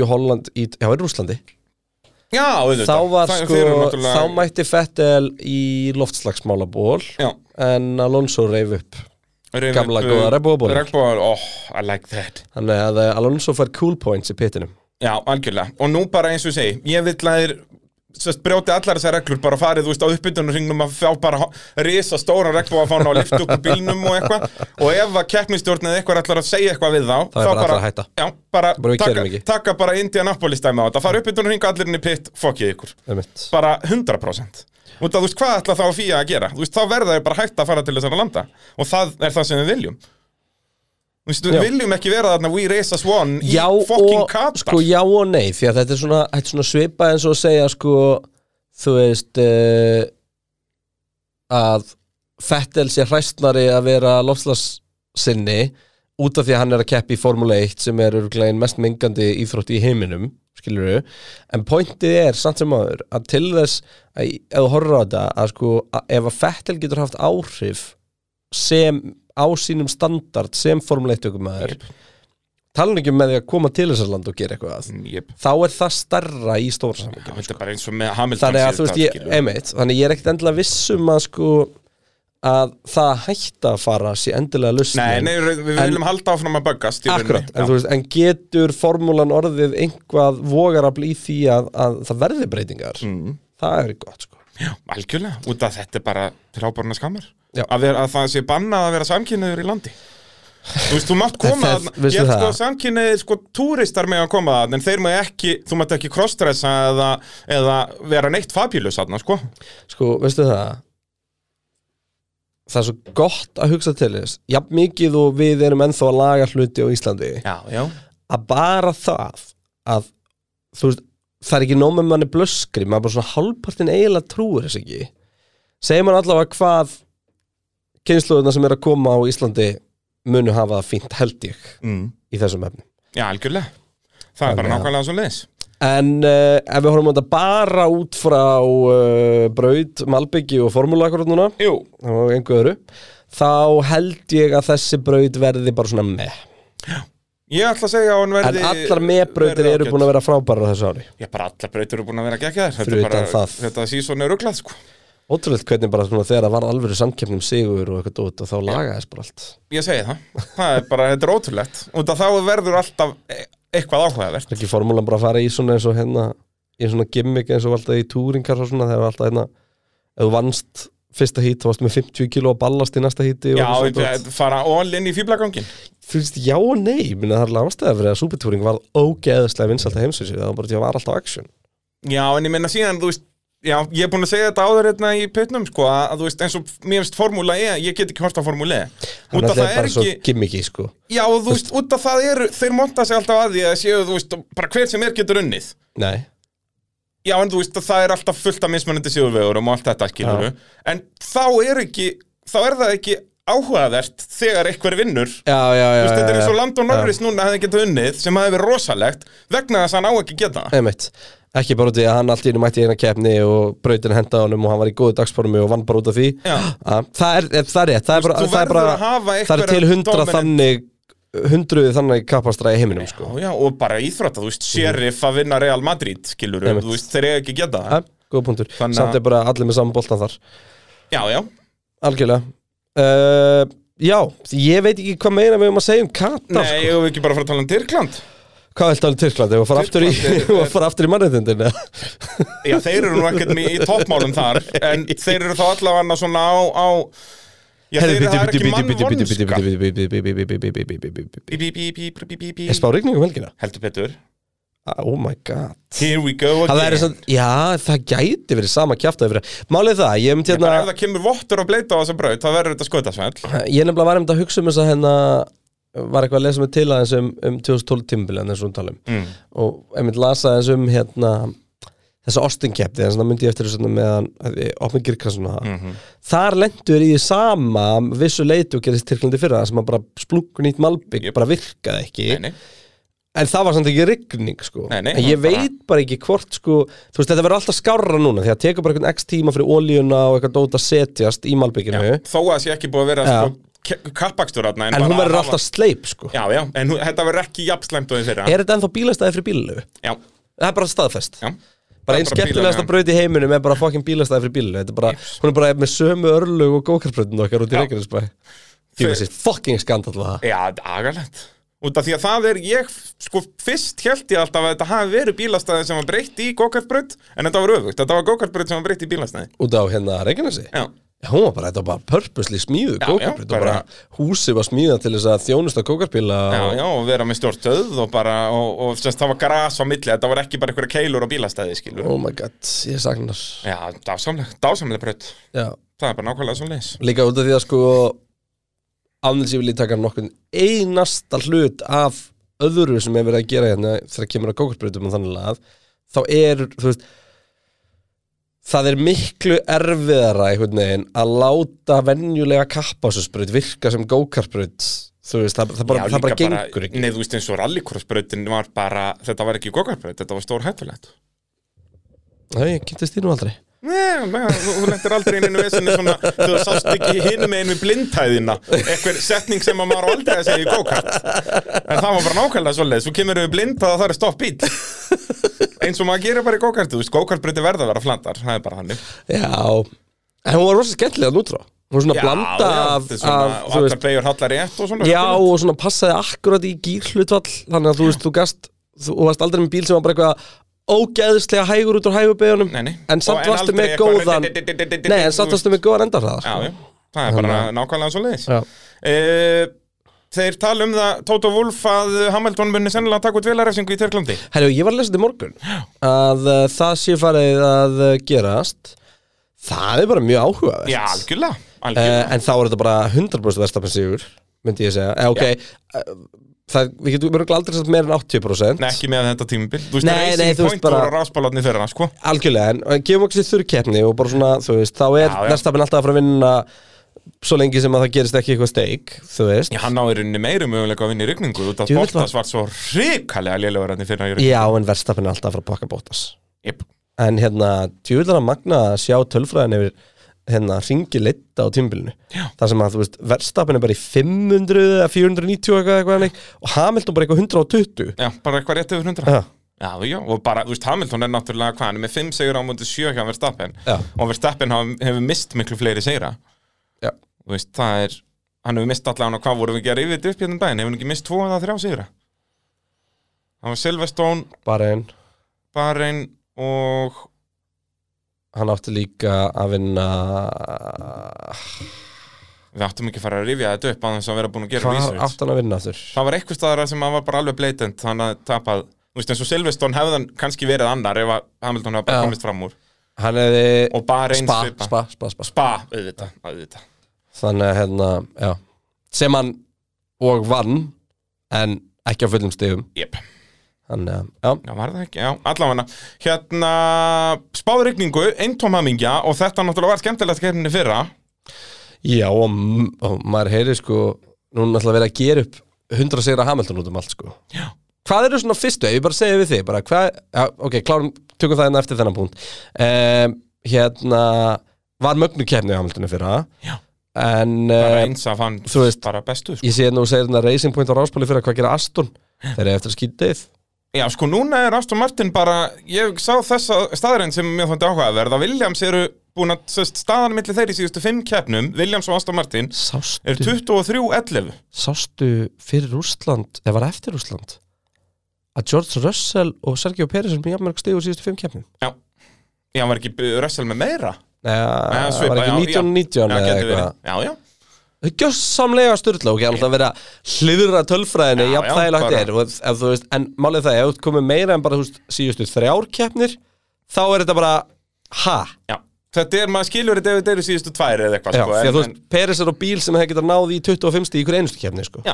Belgíu, Holland í, já, er Rúslandi Já, auðvitað þá var Það- sko, þeir eru náttúrulega- þá mætti Fettel í loftslagsmálaból Já, uh, en Alonso reif upp reyfið- gamla góða reifbóból regnbógaból, eh, oh, I like that þannig að eh, Alonso fær cool points í pittinum Já, algjörlega, og nú bara eins og ég segi ég vill að þeir sest, brjóti allar þessar reglur, bara farið, þú veist, á uppbytunarringnum að fá bara ho- risa stóran regnbóðafána og lift upp úr bílnum og eitthvað og ef að keppnistjórn eða eitthvað ætlar að segja eitthvað við þá þá er bara allra að hætta Já, bara, Bara við taka, keyrum ekki. taka bara Indianapolis dæmi á þetta fara uppbytunarringu allir inn í pitt, fokkið ykkur Einmitt. bara 100% Út að þú veist hvað ætla þá að fýja að gera Þú veist þá verða þau bara hægt að fara til þessara landa Og það er það sem við viljum Þú veist, við Já. viljum ekki vera þarna We race as one í já fucking og, Katar sko, já og nei því að þetta er svona, þetta er svona svipa eins og að segja sko, þú veist uh, að Fettel sé hræstnari að vera lofslagssinni út af því að hann er að keppi í Formule 1 sem er örglegin mest mingandi íþrótt í heiminum skilur en pointið er samt sem áður að til þess að ef þú horfir á þetta að sko að ef að Fettel getur haft áhrif sem á sínum standard sem Formule 1 tökumæður Jep. talan ekki um með því að koma til þessar land og gera eitthvað Hm, Jep. þá er það starra í stóra Já, samhengi Þetta er bara eins og með Hamilton sko. þannig að síðast þú veist ég, skilur. einmitt þannig ég er ekkert endilega viss um að sko að það að hætta að fara sé endilega lusnin Nei, nei, við við En- viljum halda áfram að böggast í akkurat, rauninni. en, þú veist, en getur formúlan orðið einhvað vogarafl í því að, að það verði breytingar Mm. það er gott sko Já, algjörlega, út að þetta er bara frábárna skammar Já. að, vera, að það sé bannað að vera samkynniður í landi Þú veist, þú mátt koma Það- þarna- veistu Ég held það? sko samkynniðir, sko, túristar með að koma þarna En þeir maður ekki, þú mátt ekki crossdressa eða, eða vera neitt fabílus þarna, sko sko, veistu það það er svo gott að hugsa til þess jafn mikið og við erum ennþá að laga hluti á Íslandi Já, já að bara það að þú veist, það er ekki nóg með manni blöskri, maður bara svona hálfpartin eiginlega trúir þess ekki segir maður allavega hvað kynnslóðuna sem er að koma á Íslandi munu hafa það fínt held ég mm. í þessum efnum Já, algjörlega Það er bara Þannig að- nákvæmlega svo leis en uh, ef við horfum á þetta bara út frá uh, braut, malbyggi og formúla akkurat núna Jú, og einhver öðru þá held ég að þessi braut verði bara svona með ég ætla að segja að hún en verði allar meðbrautir eru búin að vera frábærar á þessu ári Já, bara allar breytur eru búin að vera geggjæðar Fyrir Þetta, er bara- utan það. þetta síðan er ruglað, sko Ótrúlegt hvernig bara svona þegar það var alvöru samkeppnum sigur og eitthvað dót og þá lagaðist bara allt. Ég segi það, það er bara, þetta er ótrúlegt og þá verður alltaf e- eitthvað áhugavert Það er ekki formúlan bara að fara í svona eins og hérna í svona gimmick eins og alltaf í túringar og svona þegar alltaf hérna ef þú vannst fyrsta hít þá varst með 50 kilo að ballast í næsta híti Já, og þetta dót. þetta fara all in í fýblagangin Þú veist, já og nei, ég minna það er alveg ástæða fyrir að súpertúring var ógeðslega vinsalt að heimsvísu það var bara því að það var alltaf action. Já, en ég menna síðan, þú veist Já, ég er búin að segja þetta áður hérna í pitnum sko, að, að þú veist, eins og mér finnst formúla E ég get ekki hort á formúla E út að Þannig það að er bara svo ekki, gimmicki sko. já, og þú veist, út að það eru þeir monta sig alltaf að því að séu, þú veist, bara hver sem er getur unnið Nei, Já, en þú veist að það er alltaf fullt af mismunandi sigurvegurum og allt þetta, skilur En þá er ekki, þá er það ekki áhugavert þegar einhver vinnur já, já, já, Þú veist, þetta er já, eins og já. Landon Norris eh. núna hefði getað unnið sem hefði verið rosalegt vegna þess að hann á ekki að geta það. Einmitt. Ekki bara út í að hann allt í einu mætti í eina keppni og brautin henda honum og hann var í góðu dagsformi og vann bara út af því Já. Að Það er, það er rétt, það er bara, Þú það er verður bara að hafa það er einhverja til hundra dominant- þannig hundruð þannig kappastra í heiminum sko. Já, já, og bara íþrótta, þú veist, Sheriff að vinna Real Madrid, skilur Einmitt. Eh. þú veist, þeir eiga ekki að geta það. ja, Ah, góð punktur, Þannig að- samt er bara allir með saman boltan þar Já, já, algjörlega uh, já, ég veit ekki hvað meira við erum að segja um Katar nei, sko. ég hef ekki bara að fara að tala um Tyrkland. hvað viltu alveg Tyrklandi, við fara aftur í, Tyrkland er- eigum að fara aftur í mannreitindin Já, þeir eru nú ekkert í, í toppmálum þar, en þeir eru þá allavega svona á, á já, þeir eru það er ekki mannvonska. er Bí, bí, bí, bí, bí, bí, bí, bí. spá regningum um helgina? Heldur betur. oh my god Here we go Það again. væri svona, já, það gæti verið sama kjafta yfir Málið er það, ég myndi Bara ef hérna það kemur vottur og bleita á þessa braut, þá verður þetta skotasvæl. Ég nefnilega var einmitt að hugsa um þess að hérna Var eitthvað að lesa mig til aðeins um, um 2012 tímbil en þessum talum Mm. um. Og einmitt lasa aðeins um hérna Þessa ostingkepti, en svona myndi ég eftir þess að meðan Opnir Girkarsson og það Mhm. Þar lendur í því sama Vissu leitu og gerist Tyrklandi fyrra Það sem að bara splungun nýtt malbygg Jöp. Bara virkaði ekki Nei, nei. En það var samt ekki rigning sko Nei, nei, En ég það var bara- veit bara ekki hvort sko Þú veist þetta verður alltaf skárra núna Því að tekur bara einhvern x tíma fyrir ólíuna og eitthvað dót að setjast í malbygginu Já, þó að sé ekki búið að vera Já. sko, kappakstur þarna En hún bara að verður hafa- alltaf sleip sko Já, já, en hún, þetta verður ekki jafnslæmt og þeir þeirra Er þetta ennþá bílastæði fyrir bílalöfu? Já, Það er bara staðfest já Bara Það er einn bara skemmtilegasta bílalöfin. braut í heiminum er bara fokkin bílastæði fyrir bílalöfu Þetta er bara, hún er bara með sömu örlög og gókarbrautin okkar út í Já. Reykjanesbæ Því Þau- þessi fokkin skandal var það Já, þetta er agalegt Út af því að það er, ég, sko, fyrst held ég alltaf að þetta hafi verið bílastæði sem var breytt í gokartbröð En þetta var öfugt, þetta var gokartbröð sem var breytt í bílastæði Út á hérna Reykjanesi Já, Já, hún var bara, þetta var bara purposely smíðu Já, já, kókarbrut og bara bara- húsið var smíðað til þess að þjónusta kókarbíla já, og já, og vera með stórt höð og bara, og, og semst það var gras á milli Þetta var ekki bara einhverja keilur á bílastæði, skilur Oh my god, ég sagnar Já, dásamlega, dásamlega bröð Já. Það er bara nákvæmlega svo leis Líka út af því að sko Annars ég vil ég taka nokkun einasta hlut af öðru sem er verið að gera hérna þegar kemur að kókarbreytum og þannig að þá er, þú veist það er miklu erfiðara einhvern veginn að láta venjulega kappásusbreyt virka sem gókarbreyt þú veist, það, það bara, Já, það bara líka gengur ekki Nei, þú veist eins og rallycrossbrautin var bara, þetta var ekki gokarbraut, þetta var stór hættulegt Nei, ég kynntist því nú aldrei Nei, nei, þú þú lentir aldrei inn í vesinu svona, þú sást ekki hinum einu við blindhæðina eitthvað setning sem að maður á aldrei að segja í gokart en það var bara nákvæmlega svoleiðis, þú kemur við blindhæð og það er stopp bít eins og maður gerir bara í gokart, þú veist, gokartbrauti verða að vera flandar, það er bara hannig Já, en hún var rosa skemmtilega nútrá Hún var svona blanda af, þetta er svona, af og þú veist, allar beigur hallar rétt og svona Já og svona passaði akkurat í gýrhlutvall Þannig að þú veist, þú gast Þú þú varst aldrei með bíl sem var bara eitthvað Ógæðislega hægur út úr hægubegjunum Nei, nei. En Og- samt en varstu aldrei með eitthvað- góðan Nei, en samt varstu með góðan sko. endarhraðar Já, já, það er bara nákvæmlega svo leiðis Eh, Já. Þeir tala um það, Tóta Wolf að eh, Hamilton muni sennilega taka út velarefsingu í Tyrklandi Herru, ég var að lesa þetta í morgun Að uh, það sé farið að uh, gerast Það er bara mjög áhugavert Já, algjörlega, uh, algjörlega. En þá er þetta bara 100% verðstapin sigur Myndi ég segja eh, okay, uh, það, Við getum mörgulega aldrei satt meir en 80% Nei, ekki með þetta tímabil Þú veist, Nei, Racing nei, þú veist Point bara- voru ráspálarnir fyrir hann, sko Algjörlega, en en gefum okkur sér þurrkeppni og bara svona, þú veist, þá er Já, já. verðstapin alltaf að fara að vinna svo lengi sem að það gerist ekki eitthvað steik, þú veist Já, hann á í rauninni meiri möguleika að vinna í rigningu Út af Djöfull Bottas var svo hrikalega lélegur hann fyrir hann í rigningu Já, en verðstapin er alltaf að fara að pakka bótas yep. En hérna, tjúðlar að magna að sjá tölfræðin yfir hérna, ringi litta á tímbilinu Já. þar sem að, þú veist, verðstapin er bara í 500 eða 490 eitthvað, eitthvað, eitthvað og Hamilton bara eitthvað 120 Já, bara eitthvað rétt yfir hundra Já. Já, já, og bara, þú veist, Hamilton er náttúrulega hvað, hann er með 5 sigur á mútið 7 hjá Verstappen Já. og Verstappen hafa- hefur mist miklu fleiri sigra Já. Þú veist, það er, hann hefur mist allan og hvað voru við að gera yfir þetta upp hérna um daginn, hefur hann ekki mist 2 eða 3 sigra Það var Silverstone, bara einn Bahrein og hann átti líka að vinna við áttum ekki að fara að rifja þetta upp á þess að vera búin að gera hvað research átti hann að vinna aftur Það var eitthvað staðar sem hann var bara alveg bleitend þannig að tapað, þú veist, eins og Silverstone hefði hann kannski verið annar ef að Hamilton hefði bara Já. komist fram úr hann hefði og Bahrein spa, svipað. spa, spa, spa, spa Spa, auðvitað, auðvitað þannig að hérna, já sem hann og vann en ekki á fullum stigum Jep þannig að, já, Já, var það ekki, já, allavega Hérna, spáður rigningu, eintómhamingja og þetta náttúrulega var skemmtilegt kemni fyrra já og, m- og maður heyri sko núna ætla að vera að gera upp 100 sigra Hamilton út um allt sko Já hvað eru svona fyrstu, ef ég bara segja við þig bara, hvað, já, ok, klárum, tökum það hérna eftir þennan punkt um, hérna var mögnu kefni Hamiltonu fyrir það Já. en Það um, eins að fann þú veist- bara bestu sko. ég sé hérna og segir hérna Racing Point á ráspáli fyrir hvað gera Aston þeir eru eftir að skýta þið Já, sko, núna er Aston Martin bara Ég sá þessa staðarinn sem mér þótti áhuga að verða Williams eru búin að, sérst, staðan milli þeir í síðustu fimm keppnum Williams og Aston Martin er sástu, 23-11 sástu fyrir Rússland eða var eftir Rússland að George Russell og Sergio Pérez er mjög mörg stig úr síðustu fimm kefnum Já, var ekki Russell með meira? Nei, Nei, það svipað, Ah, var ekki já, 1990 Já, eða geti eitthvað verið Já, já gjössamlega styrla og ég ætla að vera hlýðra tölfræðinu Já, jafn já, þægilegt bara- er og, ef, þú veist, en málið það, ef þú komið meira en bara þú veist, síðustu þrjár keppnir þá er þetta bara ha Já, þetta er, maður skilur þetta ef þetta eru síðustu tvær eða eitthvað já, sko, því en, að þú veist, Peris er á bíl sem það getur náð í 25 stig í hverju einustu keppni sko. Já,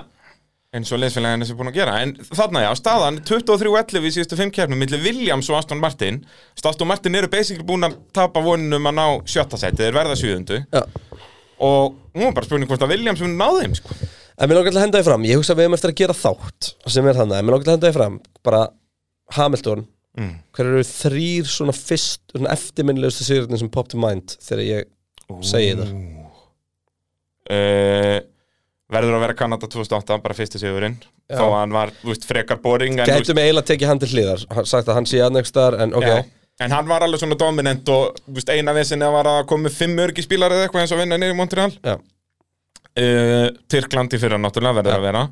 eins og leysfélagin er búin að gera En þarna já, staðan 23-11 í síðustu fimm keppnum milli Williams og Aston Martin Svo Aston Martin eru basically búin að tapa vonunum að ná sjötta seti Þeir verða sjöðundu Já. Og nú er bara spurning hvort að Williams mun ná þeim sko. en mér langar til að henda því fram, ég hugsa að við hefum eftir að gera þátt sem er þannig, en mér langar til að henda því fram bara Hamilton mm. hver eru þrýr svona fyrst svona eftirminnilegustu sigurinn sem pop to mind þegar ég segi það uh, Verður að vera Kanada 2008, bara fyrsti sigurinn Já. Þó að hann var, þú veist, frekar boring en, þú veist, gætum eiginlega tekið hann til hlýðar sagt að hann sé að nekstar, en ok Já. En hann var alveg svona dominant og þú veist, eina vesinni var að koma með fimm örgispílar eða eitthvað eins og vinna niður í Montreal Já. uh, Tyrkland í fyrra náttúrulega verður Já. að vera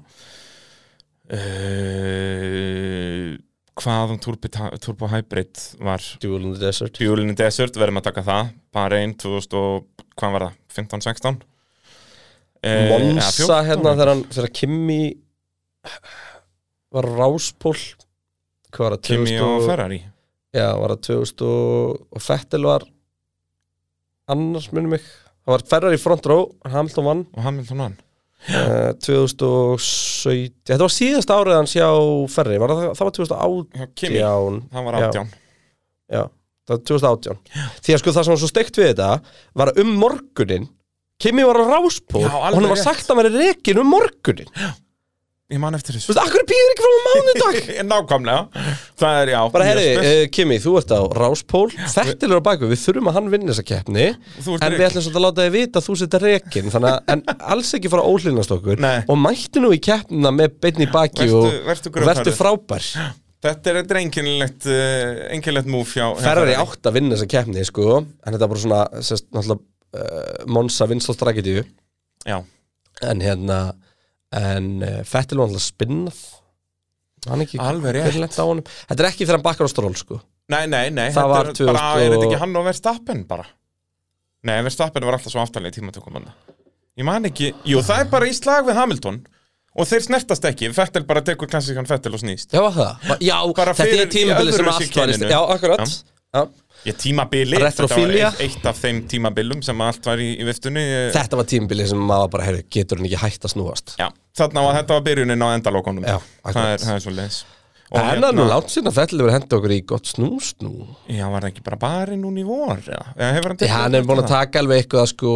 uh, Hvað um Turbo, Turbo Hybrid var Duel in the Desert Fuel in the Desert, verðum að taka það bara einn, 2000 og hvað var það 15-16 Eh, eða Monsa 14. hérna þegar hann þegar Kimi var á ráspól hvað var það Kimi og 2000 Ferrari já, var það 2000 og- og Fettel var annars munum mig það var Ferrari front row Hamilton vann og Hamilton vann uh, 2017 þetta var síðasta árið hans hjá Ferrari var það, það var 2018 Já, Kimi, hann var Já. 18 Já, það var 2018 Því að sko það sem var svo steikt við þetta var að um morgunin Kimi var á ráspól Já, og alveg hann var rétt. sagt að maður er rekin um morgunin Þú Ég man eftir þessu veist, akkur býður ekki frá um mánudag Nákvæmlega Það er, já Bara mjög herri, spes. uh, Kimi, þú ert á ráspól Þetta er á bakvið, við þurfum að hann vinna þessa keppni Þú ert En við rekinn. ætlum svolítið að láta þið vita að þú setja rekin Þannig að en alls ekki fara að óhlinast okkur Nei. Og mættu nú í keppnina með beinni í baki Vertu- og vertu og vertu grjótharður. frábær Þetta er, þetta er einkennilegt uh, einkennilegt múf hjá hjá Ferrari átt að vinna þessa keppni sko, en þetta er bara svona sérst, náttúrulega uh, Monsa vinsla stragetíu Já, en hérna en uh, Fettil var náttúrulega spinnað hann ekki alveg hver Ah, rétt lent á honum þetta er ekki þegar hann bakkar á stról sko Nei, nei, nei, Það þetta er var sko. bara, 2000 er þetta og- ekki hann og Verstappen bara? Nei, Verstappen var alltaf svo aftalega í tímatökum hann Ég man ekki, jú, það er bara í slag við Hamilton og þeir snertast ekki, Fettel bara tekur klassíkan Fettel og snýst já var það Va- já Bara þetta fyrir- er tímabilið í sem öðru allt var í sykkininu. st- já akkurat Já. Já. Ég tímabili, Retrofília. eitt, eitt af þeim tímabilum sem allt var í, í viftunni eh, þetta var tímabilið sem maður bara heyrðu getur hann ekki hægt að snúast Já, þarna var þetta var byrjunin á endalókunum Já, það akkurat. er, það er svo leis hérna- en hann er látt síðan að Fettil verið henda okkur í gott snús nú Já, var það ekki bara barinn núna í vor? eða? Eða hefur hann Já, tekið hann er eftir búin að það? taka alveg eitthvað sko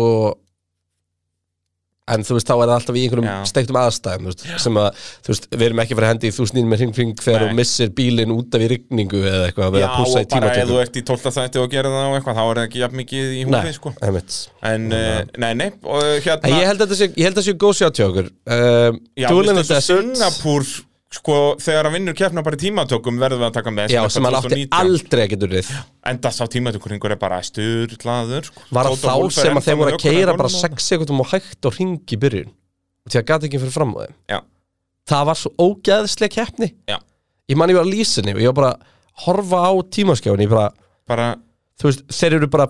En þú veist, þá er það alltaf í Já. einhverjum steiktum aðstæðum þú veist, sem að, þú veist, við erum ekki fyrir hendi í þúsnýn með hringfring þegar Nei. þú missir bílinn út af í rigningu eða eitthvað Já, við að og púsa í bara ef þú tímatökum ert í 12. þætti og gerir það og eitthvað, þá er það ekki jafn mikið í Nei, húfið, sko. einmitt En, uh, nei, nei, og En hérna... ég held að þetta sé, ég held að þetta sé góð sjá til okkur um, já, Duel in the þessu Desert Singapúr sko, þegar hann vinnur keppna bara í tímatökum verðum við að taka með Já, sem hann átti aldrei að getur við en það sá tímatökuringur er bara sturglaður sko. Var Tóta það Wolff þá er sem ennþá að þeir voru með að keira ökuna bara í 6 sekundum og hægt og ringi í byrjun Því að gata ekki fyrir fram á þeim Já. Það var svo ógæðislega keppni Já. Ég man ég var að lýsa henni og ég var bara að horfa á tímaskjáin Ég bara, honum. bara, þú veist, þeir eru bara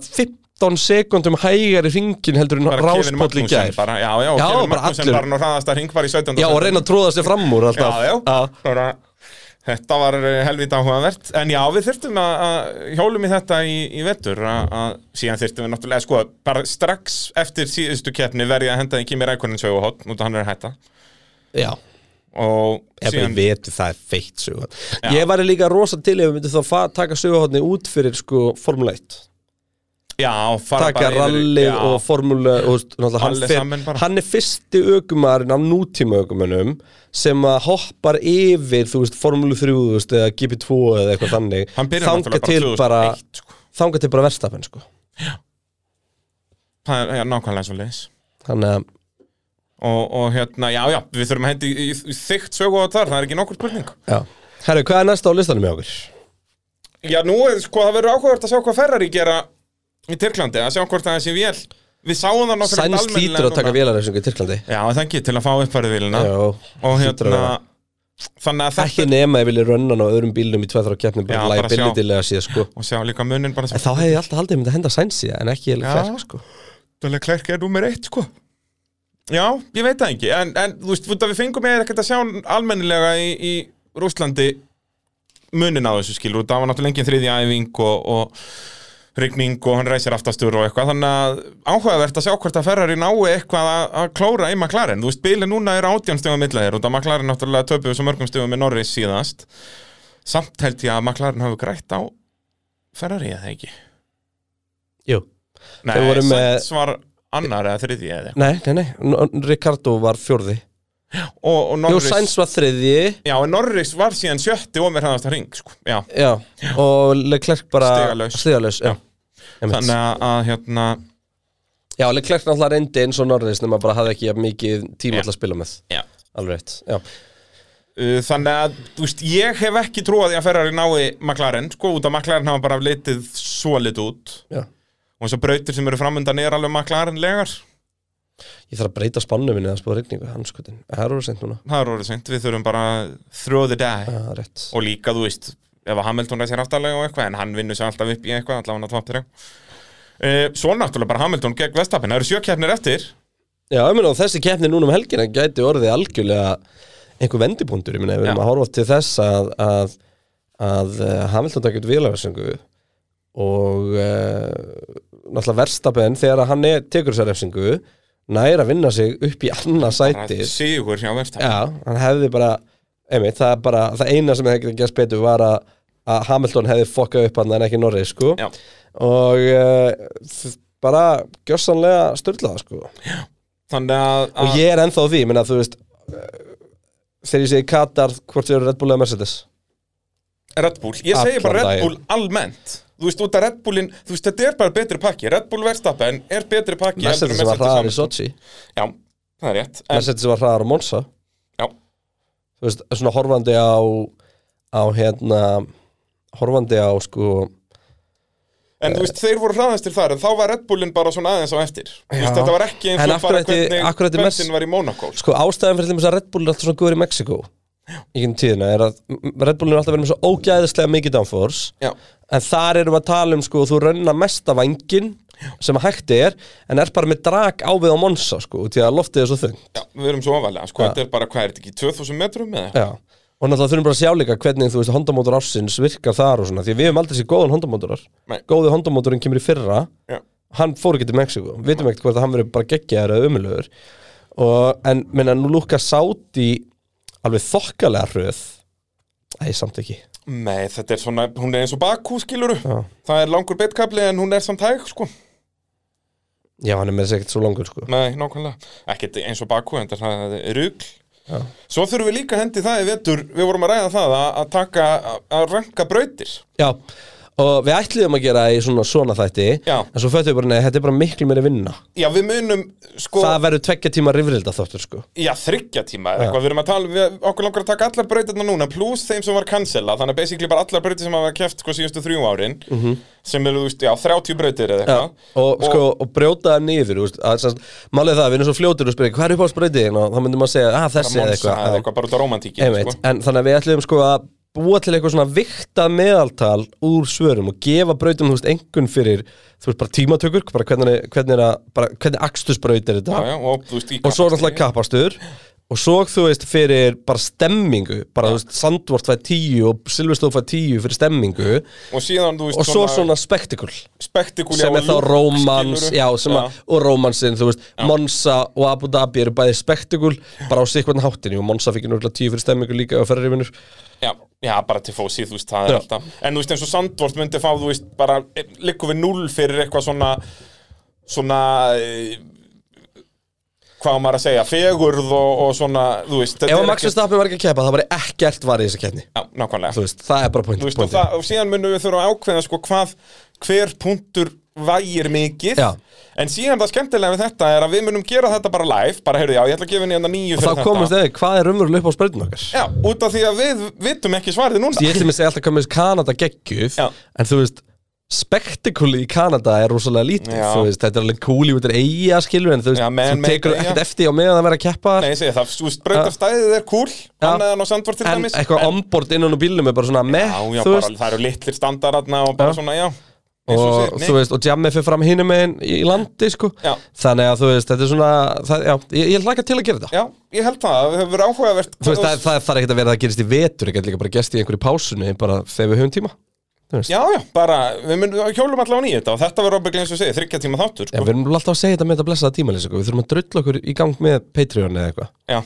15 sekundum hægar í ringin heldur en bara Kevin ráspóll í Magnúsen gær bara, já, já, Já, Kevin bara Magnúsen allir. bara nú hraðast að ring bara í 17. Já, og sæti. reyna að tróða sér fram úr alltaf Já, já. Að- bara, þetta var eh, helvita áhugavert en já, við þyrftum að, að hjólum í þetta í, í vettur að, að síðan þyrftum við náttúrulega, sko, bara strax eftir síðustu keppni verði að henda í Kimi Rækonin söguhótt, út að hann er að hætta Já, og ef við síðan, vetum það er feitt söguhótt Ég væri líka rosa til ef við myndum þá fa- taka söguhóttni út fyrir sko Formule 1 já, fara taka bara yfir- rallið já, og formúlu og, þú veist, náttúrulega Allir hann, saman fer, bara. hann er fyrsti ökumarinn af nútíma ökumennum sem að hoppar yfir þú veist, formúlu 3 þú veist, eða GP2 eða eitthvað þannig hann byrjar þanga til náttúrulega bara bara 2001 sko. þanga til bara verstapenn sko það er já, nákvæmlega svo leis þannig að og, og hérna, já, já, við þurfum að henda í, í, í þygt söguhótt þar, það er ekki nokkur spurning já. herru, hvað er næsta á listanum hjá okkur? Já, nú er sko, það verður áhugavert að sjá hvað Ferrari gera í Tyrklandi, að sjá hvort það er sér vél Við sáum það náttúrulega Sæns ekkert almennilega lítur að taka núna. vélarreysingu í Tyrklandi Já, það ekki, til að fá uppfærið vélina Já, Og hlýtur að hérna, vera. þannig að ekki þetta nema ef vilja rönnan á öðrum bílnum í 2-3 keppnum Já, bara bara sjá. liability-lega síðan sko Og sjá líka munin bara en þá hefði ég alltaf haldið um þetta henda Sæns í það en ekki Já. Leclerc sko Þannig að klærk er nummer eitt, sko Já, ég veit það ekki, en, en þú veist, út að við fengum eða ekkert að sjá almennilega í, í Rússlandi munin á þessu skilur, það var náttúrulega engin þriðja æfing og, og rigning og hann reysir aftastur og eitthvað, þannig að áhugavert að sjá hvort að Ferrari nái eitthvað að, að klóra í McLaren, þú veist, bilið núna er átján stegum illa þér, út að McLaren náttúrulega töpuðu svo mörgum stegum með Norris síðast samt held ég að McLaren hafi grætt á Ferrari eða ekki Jú. Nei, Þau voru með- Sainz var annar eða þriðji eða eitthvað. nei, nei, nei, N- Ricardo var fjórði og, og Jú, Norris Sainz var þriðji Já, en Norris var síðan sjötti og mér hafðast að ring sko. Já, já, og Leclerc bara Stigalaus. stigalaus já. þannig Þannig... að, að hérna já, Leclerc náttúrulega reyndi eins og Norris nema bara hafði ekki jafn mikið tíma Já. alltaf að spila með Já. alveg rétt, já, uh, Þannig að, þú veist, ég hef ekki trúað því að Ferrari nái McLaren sko, út að McLaren hafa bara litið svo lit út já og þessu brautir sem eru framundan er alveg McLaren legar ég þarf að breyta spannu minni að spóða regningu hann skutin, það er úr sent núna Það er orðið seint, við þurfum bara throw the day já, rétt, og líka, þú veist, ef að Hamilton reysir aftalega og eitthvað, en hann vinnur sér alltaf upp í eitthvað allavega hann að tvaptir uh, Svo náttúrulega bara Hamilton gegn Vestapin, það eru sjökeppnir eftir já, ég meina og þessi keppni núna um helgina gæti orðið algjörlega einhver vendipunktur, ég meina, ef við erum Já. að horfa til þess að að, að, að Hamilton takkir vilaversingu og uh, náttúrulega verstapenn þegar að hann er, tekur þessar refsingu nær að vinna sig upp í annað sæti Bara Sigur hjá Verstapin Já, hann hefði bara einmitt, það, er bara, það eina sem hefði getað gerst betur var að, að Hamilton hefði fokkað upp hann en ekki Norris sko Já. og uh, bara gjörsanlega styrlaða sko Þannig að, að og ég er ennþá á því, menna þú veist eh, þegar ég segi Katar hvort þau eru Red Bull eða Mercedes Red Bull, ég segi Allan bara Red daginn. Bull almennt þú veist, út af Red Bullin, þú veist, þetta er bara betri pakki Red Bull Verstappen er betri pakki heldur en Mercedes var hraðar í Hamilton. Sochi Já, það er rétt en, Mercedes var hraðar á Monza Já. þú veist, svona horfandi á á hérna horfandi á sko en þú veist, þeir voru hraðastir þar en þá var Red Bullin bara svona aðeins á eftir Þú Já. veist, þetta var ekki eins En og af bara hverju ætti- af hverju ætti hvernig Merce- Bensin var í Monaco sko. sko ástæðan fyrir þeim að Red Bull er alltaf svona góður í Mexiko í gennum tíðina er að m- m- Red Bull er alltaf verið með svo ógæðislega mikið downforce Já, en þar erum við að tala um sko þú rönna mesta vangin sem hægt er en er bara með drag ávið á Monsa sko því að loftið er svo þung já, við erum svo ofalega, sko, þetta er bara, hvað er þetta ekki, 2000 metrum eða? Já. og náttúrulega þurfum bara að sjá líka hvernig þú veist hondamótor ásins virkar þar og svona því að við hefum aldrei sér góðan hondamótorar Nei. góði hondamótorinn kemur í fyrra Já, hann fór ekki til Mexiko, við veitum ekkert hvort að hann verið bara geggjaður eða umulugur og, en minna, nú lúka sátt í alveg þokkalega hröð Æ, samt ekki nei, þetta er svona, hún er eins og Bakú, skiluru Já, Það er langur beitkabli en hún er samt hæg, sko Já hann er með þess ekkert svo langur sko Nei, nákvæmlega, ekkert eins og Bakú, en það er rugl Já, Svo þurfum við líka hendi það í vetur, við vorum að ræða það að, að taka, að- að ranka brautir. Já. og við ætliðum að gera í svona, svona þætti Já. en svo föttum við bara, nei, þetta er bara miklu meiri vinna Já, við munum, sko, það verður tveggja tíma rifrilda þáttur sko já, þryggja tíma eða eitthvað, við erum að tala, við, okkur langar að taka allar brautirna núna, pluss þeim sem var cancella, þannig að basically bara allar brautir sem hafa keft sko síðustu þrjú árin, -hmm. sem eru, þú veist, já, 30 brautir eða Mhm. Já, eitthvað. og, sko, og brjóta það niður þú veist, að, sanns, Málið er það, að við erum svo fljótur og spyrja hvað er upp á spreytin og þá myndum að segja að þessi Monsa eða eða eitthvað eitthvað, bara út á Já, romantíkin, einmitt. sko. En þannig að við ætlum sko að búa til eitthvað svona viktað meðaltal úr svörum og gefa brautum þú veist engun fyrir þú veist bara tímatökur bara hvernig, hvernig, er að, bara, hvernig akstusbraut er þetta Já, já, og, þú veist, í og kappakstri. svo náttúrulega kappastur og svo þú veist fyrir bara stemmingu bara þú veist Sandvort fæði tíu og Silvestóð fæði tíu fyrir stemmingu Og síðan, þú veist, og svo svona spektakul spektakúli sem á er þá look, rómans skilurðu? já, sem að, og rómansinn, þú veist, Monsa og Abu Dhabi eru bæði spektakul bara á sikvarn háttinni og Monsa fikk náttúrulega tíu fyrir stemmingu líka á ferðarrifinur Já, já, bara til fósið, þú veist, það er Já. alltaf En þú veist, eins og Sandvort myndi fá, þú veist, bara eh, Liggur við null fyrir eitthvað svona Svona eh, Hvað á maður að segja, fegurð og, og svona, þú veist þetta ef er að Max ekki- Verstappen var ekki að keppa, það var ekkert var í þessa keppni Já, nákvæmlega þú veist, það er bara point, Þú veist, og, það, og síðan munum við þurfa að ákveða sko hvað Hver punktur vægir mikið Já. En síðan það skemmtilega við þetta er að við munum gera þetta bara live Bara, heyrðu, já, ég ætla að gefa henni hérna nýju fyrir og þá þetta komumst eða, hvað er umverulega upp á spreytin okkar Já, út af því að við vitum ekki svarið núna ég ætlum að segja alltaf komumst Kanada geggjuð Já. en þú veist spektakuli í Kanada er rosalega lítið Já. þú veist, þetta er alveg cool í út er eiga skilur en þú veist, Já, man-made þú tekur eyja. ekkert eftir á meðan það vera að keppa þar. Nei, ég segi það, þú veist, brautarstæðið er cool Hann eða ná sandvort til en dæmis eitthvað ombord innan úr bílnum er bara svona meh, Já, já, þú bara, veist það eru litlir standaratna og bara Já. svona, já Eins og og segir, þú nei. veist, og jammið fyrir fram hinum megin í landi, sko Já. þannig að þú veist, þetta er svona það, já, ég, ég hlaka til að gera þetta Já, ég held það, það hefur verið áhugavert þú veist, það, það, það er ekkert að vera að gerist í vetur ekkert líka bara gerst í einhverju pásunni bara þegar við höfum tíma Já, já, bara, við myndum hjólum allavega í þetta og þetta verður ábygglega eins og segir, þryggja tíma þáttur Já, sko. við erum alltaf að segja þetta með þetta blessaða tímalins sko. við þurfum að drulla okkur í gang með Patreon eða eitthvað Já,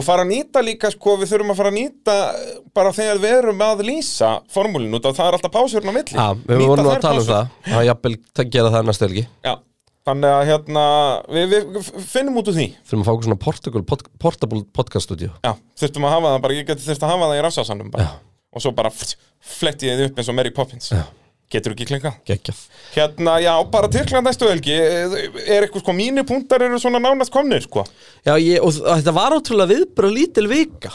og fara að nýta líka, sko, við þurfum að fara að nýta eh, bara þegar við erum að lýsa formúlinu, út af það er alltaf pásurinn á milli Já, við Nýta vorum nú þær að tala um pásur. það Það er jafnvel að gera það næstu helgi Já, þannig að hérna, við, við finnum út úr því Þurfum að fá okkur svona portable, pod, portable podcast studio Já, þurftum að hafa það bara, ég geti þurft að hafa það í rafsásanum bara Já. Og svo bara flt- fletti ég þið upp eins og Mary Poppins Já. Getur ekki klinkað Gekjað Hérna, já, bara Tyrkland næstu helgi Er eitthvað sko, mínir punktar eru svona nánast komnir, sko Já, ég, og þ- þetta var ótrúlega viðbara lítil vika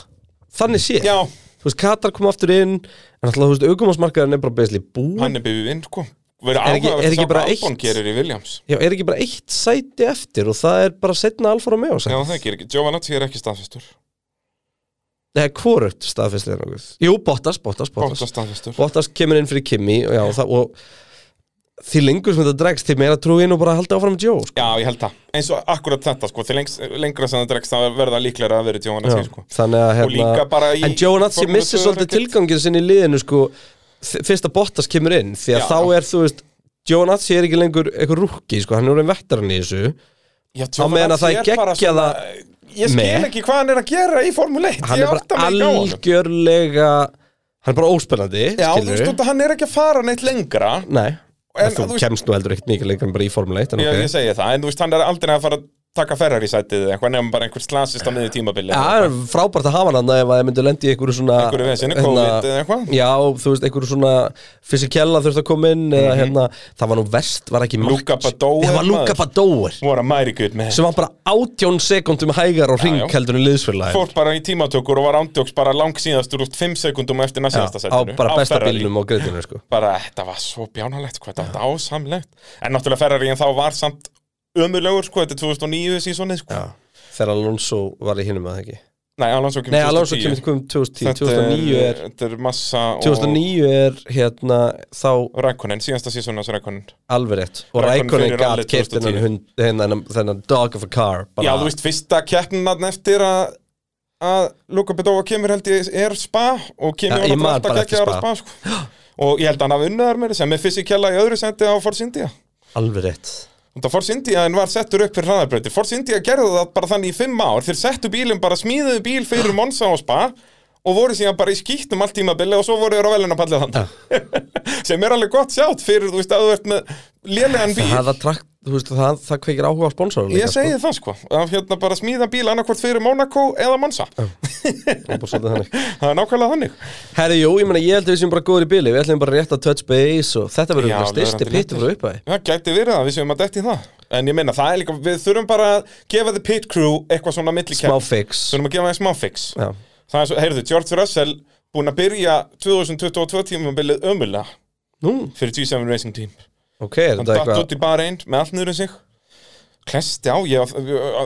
Þannig sé Já, Þú veist, Katar kom aftur inn En alltaf, þú veist, augumansmarkaðurinn er bara beisli búin hann er byggðið inn, sko Verið Er ekki- áhugavert er að ekki sjá bara hvað eitt? Albon gerir í Williams Já, er ekki bara eitt sæti eftir Og það er bara setna alfara með oss Já, það gerir ekki, Giovanazzi er ekki staðfestur Nei, hvorugt staðfestið er nokkuð Jú, Bottas, Bottas, Bottas Bóta staðfestur Bottas kemur inn fyrir Kimi og, já, og, það, og því lengur sem þetta dregst því meira trúi inn og bara halda áfram með Joe sko. Já, ég held það, eins og akkurat þetta, sko Þegar lengs, lengra sem það dregst það verða líklega að verið Giovanazzi, sko þannig að Og líka hérna, bara í en Joe Natsi Formúlu missir 2 svolítið ekkert. tilgangin sinni í liðinu sko, þ- fyrst að Bottas kemur inn því að Já. þá er þú veist Joe Natsi er ekki lengur eitthvað rúkki sko, hann er orðin vettarinn í þessu Já, Á meðan að það Giovanazzi er bara geggjaða svona- Ég skil með. ekki hvað hann er að gera í Formule 1 hann ég er átta bara mig ekki á honum. algjörlega hann er bara óspennandi Já, þú skilurðu. veist, út að hann er ekki að fara neitt lengra Nei, En en, þú þú veist- kemst nú heldur ekkert mikið lengur en bara í Formule 1 en Já, ok. ég segi það, en þú veist, hann er aldrei að fara að taka ferrar í sætið eða eitthvað nefnum bara einhver slasist Ah. á miður tímabili Já, það er frábært að hafa hann þarna ef að þið myndu lendi í einhverju svona Einhverju veseni, hérna, COVID eða eitthvað. Já, þú veist, einhverju svona fysikella þurft að koma inn eða hérna, það var nú verst, var ekki Luca Max- Badoer, Það var Luka maður. Badóer voru að mæri gutt með sem var bara átjón sekundum hægar og ring já. heldur en liðsfélagi fór bara í tímatökur og var ándjóks bara langsíðastur út 5 sekundum eftir næstíðasta á sætinu bara besta Ferrari. bílnum og greiðinu sko. bara þetta var svo bjánalegt hvað þetta átt ásamlegt en náttúrulega ferrar í en þá var samt ömulegur sko, þetta er 2009 sísonið sko. þegar Alonso var í hinum að það ekki nei, Alonso kemur Nei, Alonso kemur kom 2010 2009 er, þetta er massa 2009 er hérna þá og Rækonin, síðasta sísonið hans Rækonin alveg rétt og Raikkonen Rækonin fyrir gæt rallið keipt 2010. þennan dog of a car bara- Já, þú veist, fyrsta keppnan eftir að að Luka Bedóa kemur held ég er spa og Já, kemur ég man alltaf bara eftir geggjaður á spa sko. og ég held að hann hafi unnaðar með þess að með fysikella í öðru sendi á Force India alveg rétt og það Force India en var settur upp fyrir hraðarbröti Force India gerði það bara þannig í fimm ár þeir settu bílum bara smíðuðu bíl Ah. fyrir Monza og spa og voru síðan bara í skýttum allt tímabili og svo voru þeir á velunapallið þannig sem er alveg gott sjátt fyrir þú veist að þú ert með lélegan bíl Ah. Það var trakt þú veist, það, það kveikir áhuga á sponsorum Ég segi það sko, að hérna bara smíða bíl annarkvort fyrir Monaco eða Monza Herri, Það er nákvæmlega þannig jú, ég meina, ég held að við séum bara góður í bíli Við ætlum bara rétt að touch base og þetta verður Já, bara styrsti löðrandi pittur frá upphæði Það gæti verið það, við séum að detti í það En ég meina, það er líka, við þurfum bara að gefa the pit crew eitthvað svona Smá millikamp fix Þurfum að gefa þeim smá fix Já, Það er svo, heyrðu, George Russell búin að byrja 2022 tímabilið ömulega nú, fyrir G7 Racing Team ok, er Hann þetta datt út eitthvað í bara einn með allt niður um sig Klesti á, ég, á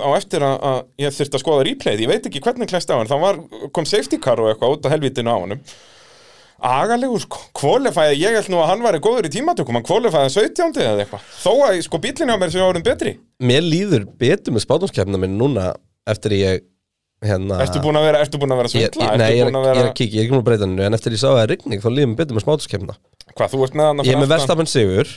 á eftir að, að ég þurfti að skoða replayð, ég veit ekki hvernig klesti á hann, þá var, kom safety car og eitthvað út af helvitinu á honum Agalegur, sko, kvalifæði, ég held nú að hann væri góður í tímatökum, hann kvalifæði 17. eða eitthvað, þó að sko bíllinn hjá mér séu orðin betri, Mér líður betur með spátumskjæfna minn núna Eftir ég, hérna ertu búin að vera, ertu búin að vera Ég, svindla, ég- nei, ég er, ertu búin að ég er vera, að kíkja, ég er ekki múin að breyta hennu En eftir ég sá að það er rigning, þá líðum betur með smátuskeppna hvað, þú ert með hann að Ég er með Verstappen sigur,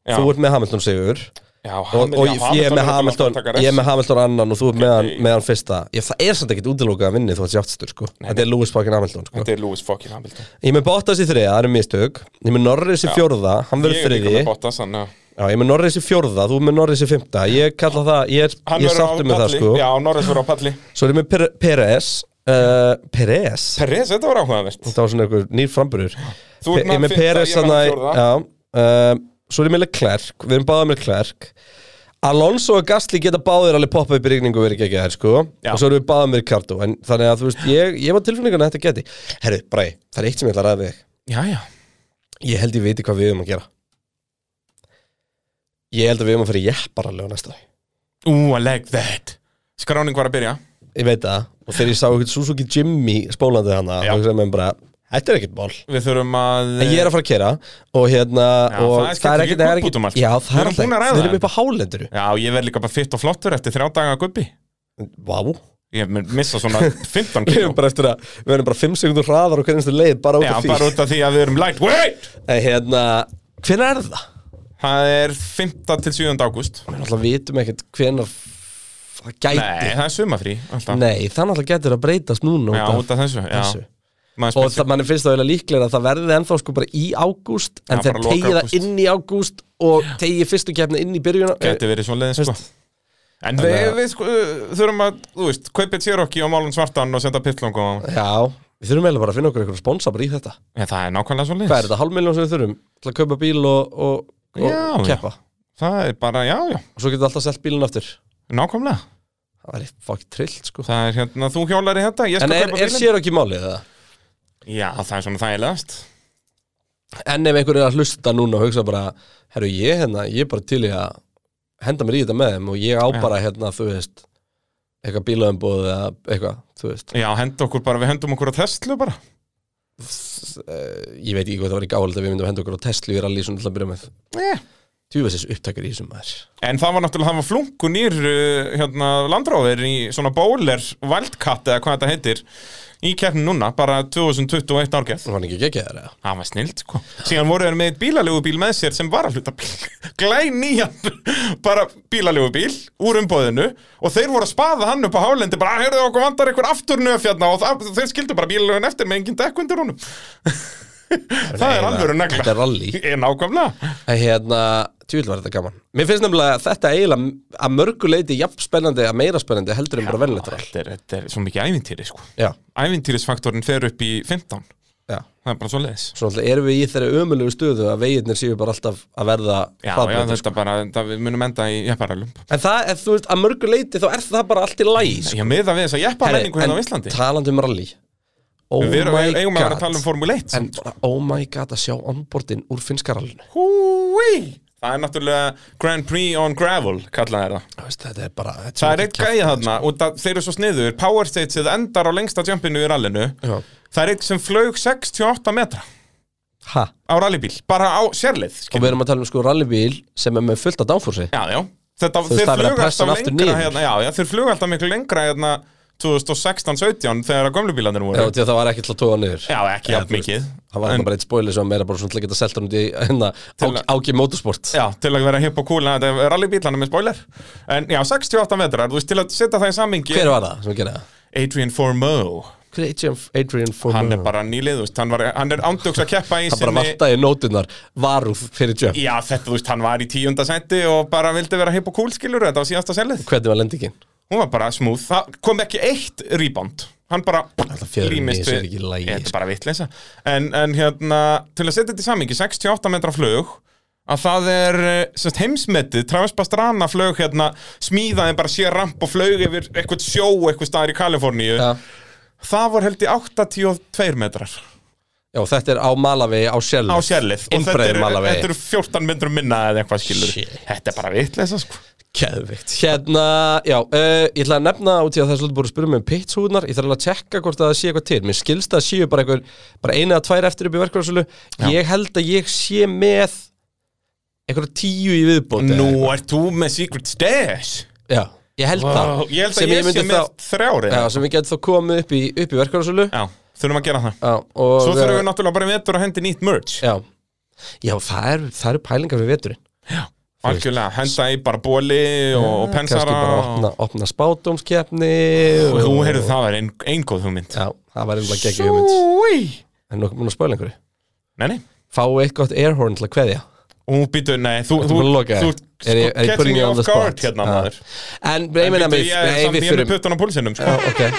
já, þú ert með Hamilton sigur já, Og, Hamil- og já, ég, ég er með náttúrulega alltaf Hamilton, að taka ég er refs. með Hamilton annan Og þú er með hann, Nei. með hann fyrsta ég, Það er samt ekkert útilókað að vinni þú að sjáttstur sko. Þetta er Lewis fucking Hamilton sko. Þetta er Lewis fucking Hamilton Ég er með Bottas í þriða, það eru mistök Ég er með Norris í fjórða, hann Ég verður er líka þriði með Bottas, hann að Já, ég er með Norris í fjórða, þú er með Norris í fymta Ég kalla það, ég er, Hann ég er verður á sáttur með það palli. sko Já, Norris verður á palli Svo er ég með Per- Perez uh, Perez? Perez, þetta var áhugavert Þetta var svona einhver nýr framburður Þú ert Pe- Ég er með með fimmta, ég Perez er hann með að fjórða Já, uh, svo er ég með Leclerc Við erum báðið með Leclerc Alonso og Gasly geta báðir alveg poppa upp í rigningu og verið ekki ekki þær sko Já. og svo erum við báðið með Ricardo en þannig að þú veist, ég, ég var tilfinningun að þetta geti Herru, Bræ, það er eitt sem ég ætla að ræða við þig. Já, já Ég held ég viti hvað við erum að gera Ég held að við erum að fara í jepparalegu næsta dag Ú, I like that Skráning var að byrja Ég veit það Og þegar ég sá eitthvað Suzuki Jimmy spólandi hana Já. þá hugsaði mér bara, þetta er ekkert mál Við þurfum að En ég er að fara að kera Og hérna Já, og það er skemmt, ég er gubb út um allt. Já, Við það er erum búin að alltaf ræða Við erum það. upp á hálenduru eh, Já, ég verð líka bara fitt og flottur eftir þrjá daga gubbi Vá Ég mun missa svona 15 Við kíló erum bara eftir að Við erum bara 5 sekundur hraðar Og hvernig stu leið Bara út Já, af bara því út af því að við erum lightweight En hérna Hvenær er það? Það er 5. til 7. ágúst Við alltaf vitum ekkert Hvenær f- Það gæti Nei, það er sumafrí alltaf Nei, það náttúrulega getur að breytast núna Já, út af þessu, já. þessu. Maður Og spyr sig- það manni finnst það eiginlega líklega að það verði ennþá sko bara í ágúst En Já, þeir bara loka tegið ágúst. það inn í ágúst Og tegið fyrstu kefni inn í byrjun Gæti verið svona leiðin sko Veist. En Þannig við, að- við sko, þurfum að, þú veist, kaupið Cherokee og málum svartan og senda pittlong og Já, við þurfum eiginlega bara að finna okkur eitthvað sponsa bara í þetta Já, það er nákvæmlega svo Hvað er þetta, hálf miljón sem við þurfum til að kaupa bíl og, og, og Já, já. keppa Það er bara, já, já, og svo getur alltaf selt bílinn aftur nákvæmlega Það væri fokk trillt sko Það er hérna, þú hjólar í þetta, ég En skal er, kaupa er bílinn sér ekki málið það? Já, það er svona þægilegast En ef einhver er að hlusta núna og hugsa bara Herru ég hérna, ég er bara til í að henda mér í þetta með þeim og ég á Já. bara hérna, þú veist eitthvað bílaðumbóð eða eitthvað, þú veist Já, henda okkur bara, við hendum okkur á Tesla bara Eh, Ég veit ekki hvað það var ekki áhald að við myndum henda okkur á Tesla í rally svona til að byrja með yeah. Tjúfessis upptakar í þessum maður En það var náttúrulega, það var flunkun ír hérna, landróðir í svona bowler wildcat eða hvað þetta heitir í keppnin núna, bara 2021 árgeð Var hann ekki geggjaður eða? Það var snild, sko Síðan voru þeir með eitt bílalegubíl með sér sem var að hluta bíl Glænýjan, bara bílalegubíl úr umbóðinu og þeir voru að spaða hann upp á hálendi bara, heyrðu okkur vandar einhver aftur nöfjarna og það, þeir skildu bara bílalegun eftir með engin dekk undir honum Það Nei, er alvöru Þetta negla er rally Ég nákvæmlega að hérna, tjúvill var þetta gaman Mér finnst nefnilega að þetta eiginlega að mörgu leiti jafn spennandi að meira spennandi heldur en bara venlegt all þetta er, þetta er svo mikið ævintýri sko Já, Ævintýrisfaktorin fer upp í 15 já Það er bara svo leiðis Svo alltaf erum við í þeirri ömulegu stöðu að veginir séu bara alltaf að verða Já, já, hraðbrautir. sko. þetta bara, það, sko- við munum enda í jepparælum En það, ef þú veist, að mörgu leiti þá er það bara allt í lagi sko. Já, miða við þess að jeppamenningu hérna á Íslandi talandi um rally Oh Við erum, my eigum að vera að god tala um Formule 1 En bara, oh my god, að sjá onboardin úr finnska rallinu Húi Það er náttúrulega Grand Prix on Gravel kallaði þeir það Þú veist, Þetta er bara þetta Það er svo eitt gæði þarna og það, þeir eru svo sniður Power Stagesið endar á lengsta jumpinu í rallinu Já. Það er eitt sem flög 68 metra ekki- Ha, á rallybíl Bara á sérleið og skilur. við erum að tala um sko rallybíl sem er með fullt af dánfúrsi Já, já Þetta, veist, þeir það er verið að flugu pressa alltaf hann aftur lengra niður. hérna, já, já, þeir flugu alltaf miklu lengra hérna 2016-17 þegar að gömlu bílanir Já, voru því að það var ekki til að tóa niður Já, ekki Já, jafn þú mikið Það var en, bara eitt spoiler sem var meira bara svona til að geta selta hann út í hérna, Til áki, áki motorsport Já, til að vera hipp og cool að þetta er rallybílana með spoiler En já, 68 metrar, þú veist, til að setja það í samingi Hver var það sem gerði það? Adrian Formeau hver er Adrian, Adrian Former? Hann er bara nýlið, þú veist, hann, var, hann er ándjóks að keppa í Mm. hann bara vartaði nótunar varúð fyrir Jeff Já, þetta, þú veist, hann var í tíunda senti og bara vildi vera hip og cool, skilur þetta var síðasta selið. hvernig var lendingin? Hún var bara smúð, það kom ekki eitt rebound. Hann bara fjöðrin í límist þessu er við- ekki í lagi, Þetta sko. er bara vitleisa. En, en hérna, til að setja þetta í samingi, 68 metra flög, að það er eh, sem sagt, heimsmetið, Travis Pastrana flög hérna, smíðaði bara sér ramp og flög yfir eitthvað sjó eitthvað staðar í Kaliforníu. Já. Það var held í 82 metrar. Já, þetta er á Malavegi, á Sjellið á sérlið og þetta Innbreiður eru þetta Malavegi eru 14 myndur minna eða eitthvað skilur Shit. þetta er bara vitleisa sko Keðvikt Hérna, já, uh, ég ætla að nefna út í að það er svolítið búin að spyrja mig um pitshúðunar Ég þarf alveg að tjekka hvort að það sé eitthvað til Mér skilst að það séu bara einhver bara eina að tvær eftir upp í verkvæðarsölu Ég held að ég sé með einhverja tíu í viðbóti nú ert þú með Secret Stash Já, ég held það Vá, ég held Sem að ég myndi sé með þá- þrjári Já, sem við getum þá komið upp í, upp í verkvæðarsölu já, þurfum að gera það Já, og eh, svo þurfum við náttúrulega bara í vetur að hendi nýtt merch Já, já það, er, það eru pælingar við veturinn algjörlega, henda í bara bóli og, og Kannski pensara bara opna, opna spátumskeppni og þú heyrðu það er ein, ein góð hugmynd Já, það var einhverja geggjum hugmynd Súi. En nokkuð búin að spála einhverju nei, nei Fáu eitt gott airhorn til að kveðja og býtu, nei, þú Ertu þú, búin að loka þú, þér? Er ég- er ég catching putting me you on off the guard spot? hérna Já. maður En ég meina Býtu, við ég er Nei, samt- við ég er með fyrir puttan á pólsinum sko. okay.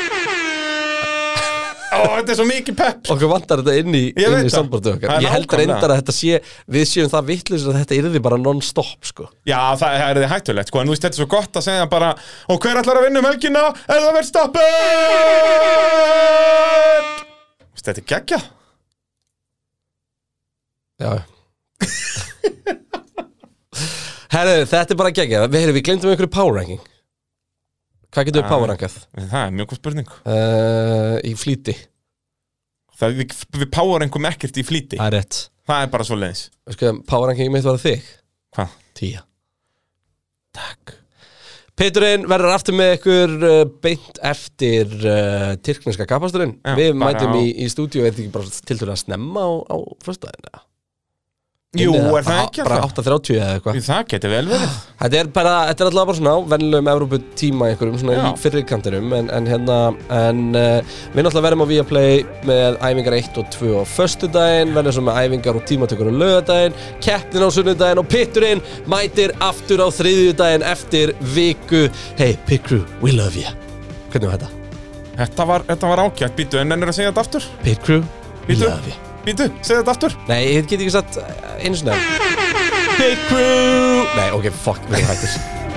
Ó, þetta er svo mikið pepp Okkur vantar þetta inn í, Ég inn veit í það. sambortu Það okkar er Ég held nákvæmlega. reyndar að þetta sé Við séum það vittlis að þetta yrði bara non-stop sko. Já, það er þið hættulegt, sko, en þú veist, þetta er svo gott að segja bara Og hver ætlar að vinna um helgina? Er það verið stoppið? Þetta er geggja Já Herðu, þetta er bara geggjað Við, heyrðu, við glemdum einhverju power ranking Hvað getum við Ah. power rankað? Það er mjög góð spurning Uh, í flýti það, Við, við power einhverjum ekkert í flýti Það er rétt Það er bara svo leiðis Sko, power ranking mitt var þig Hvað? Tíja Takk Peturinn verður aftur með ykkur uh, beint eftir uh, tyrkneska kapasturinn Já, Við bara mætum á- í, í stúdíu, er þetta ekki bara tiltölu að snemma á, á föstudaginn? Jú, er það ekki Bara alltaf? 8.30 eða eitthvað Það geti vel verið Þetta er bara, þetta er alltaf bara svona á vennilegum Evrópu tíma einhverjum, svona Já. í fyrri kantinum en, en hérna, en uh, við náttúrulega verðum á Viaplay með æfingar 1 og 2 á föstudaginn, verðum svo með æfingar og tímatökur á lögadaginn, keppnin á sunnudaginn og pitturinn mætir aftur á þriðjudaginn eftir viku Hey, Pit Crew, we love you Hvernig var þetta? Þetta var, þetta var ágætt, býtu, en ennur að segja þetta aftur Pit Crew, we Bíddu. love you Býtu, segja þetta aftur Nei, ég get ekki satt eh, einu svona Pit Crew Nei, ok, fuck, við erum hættir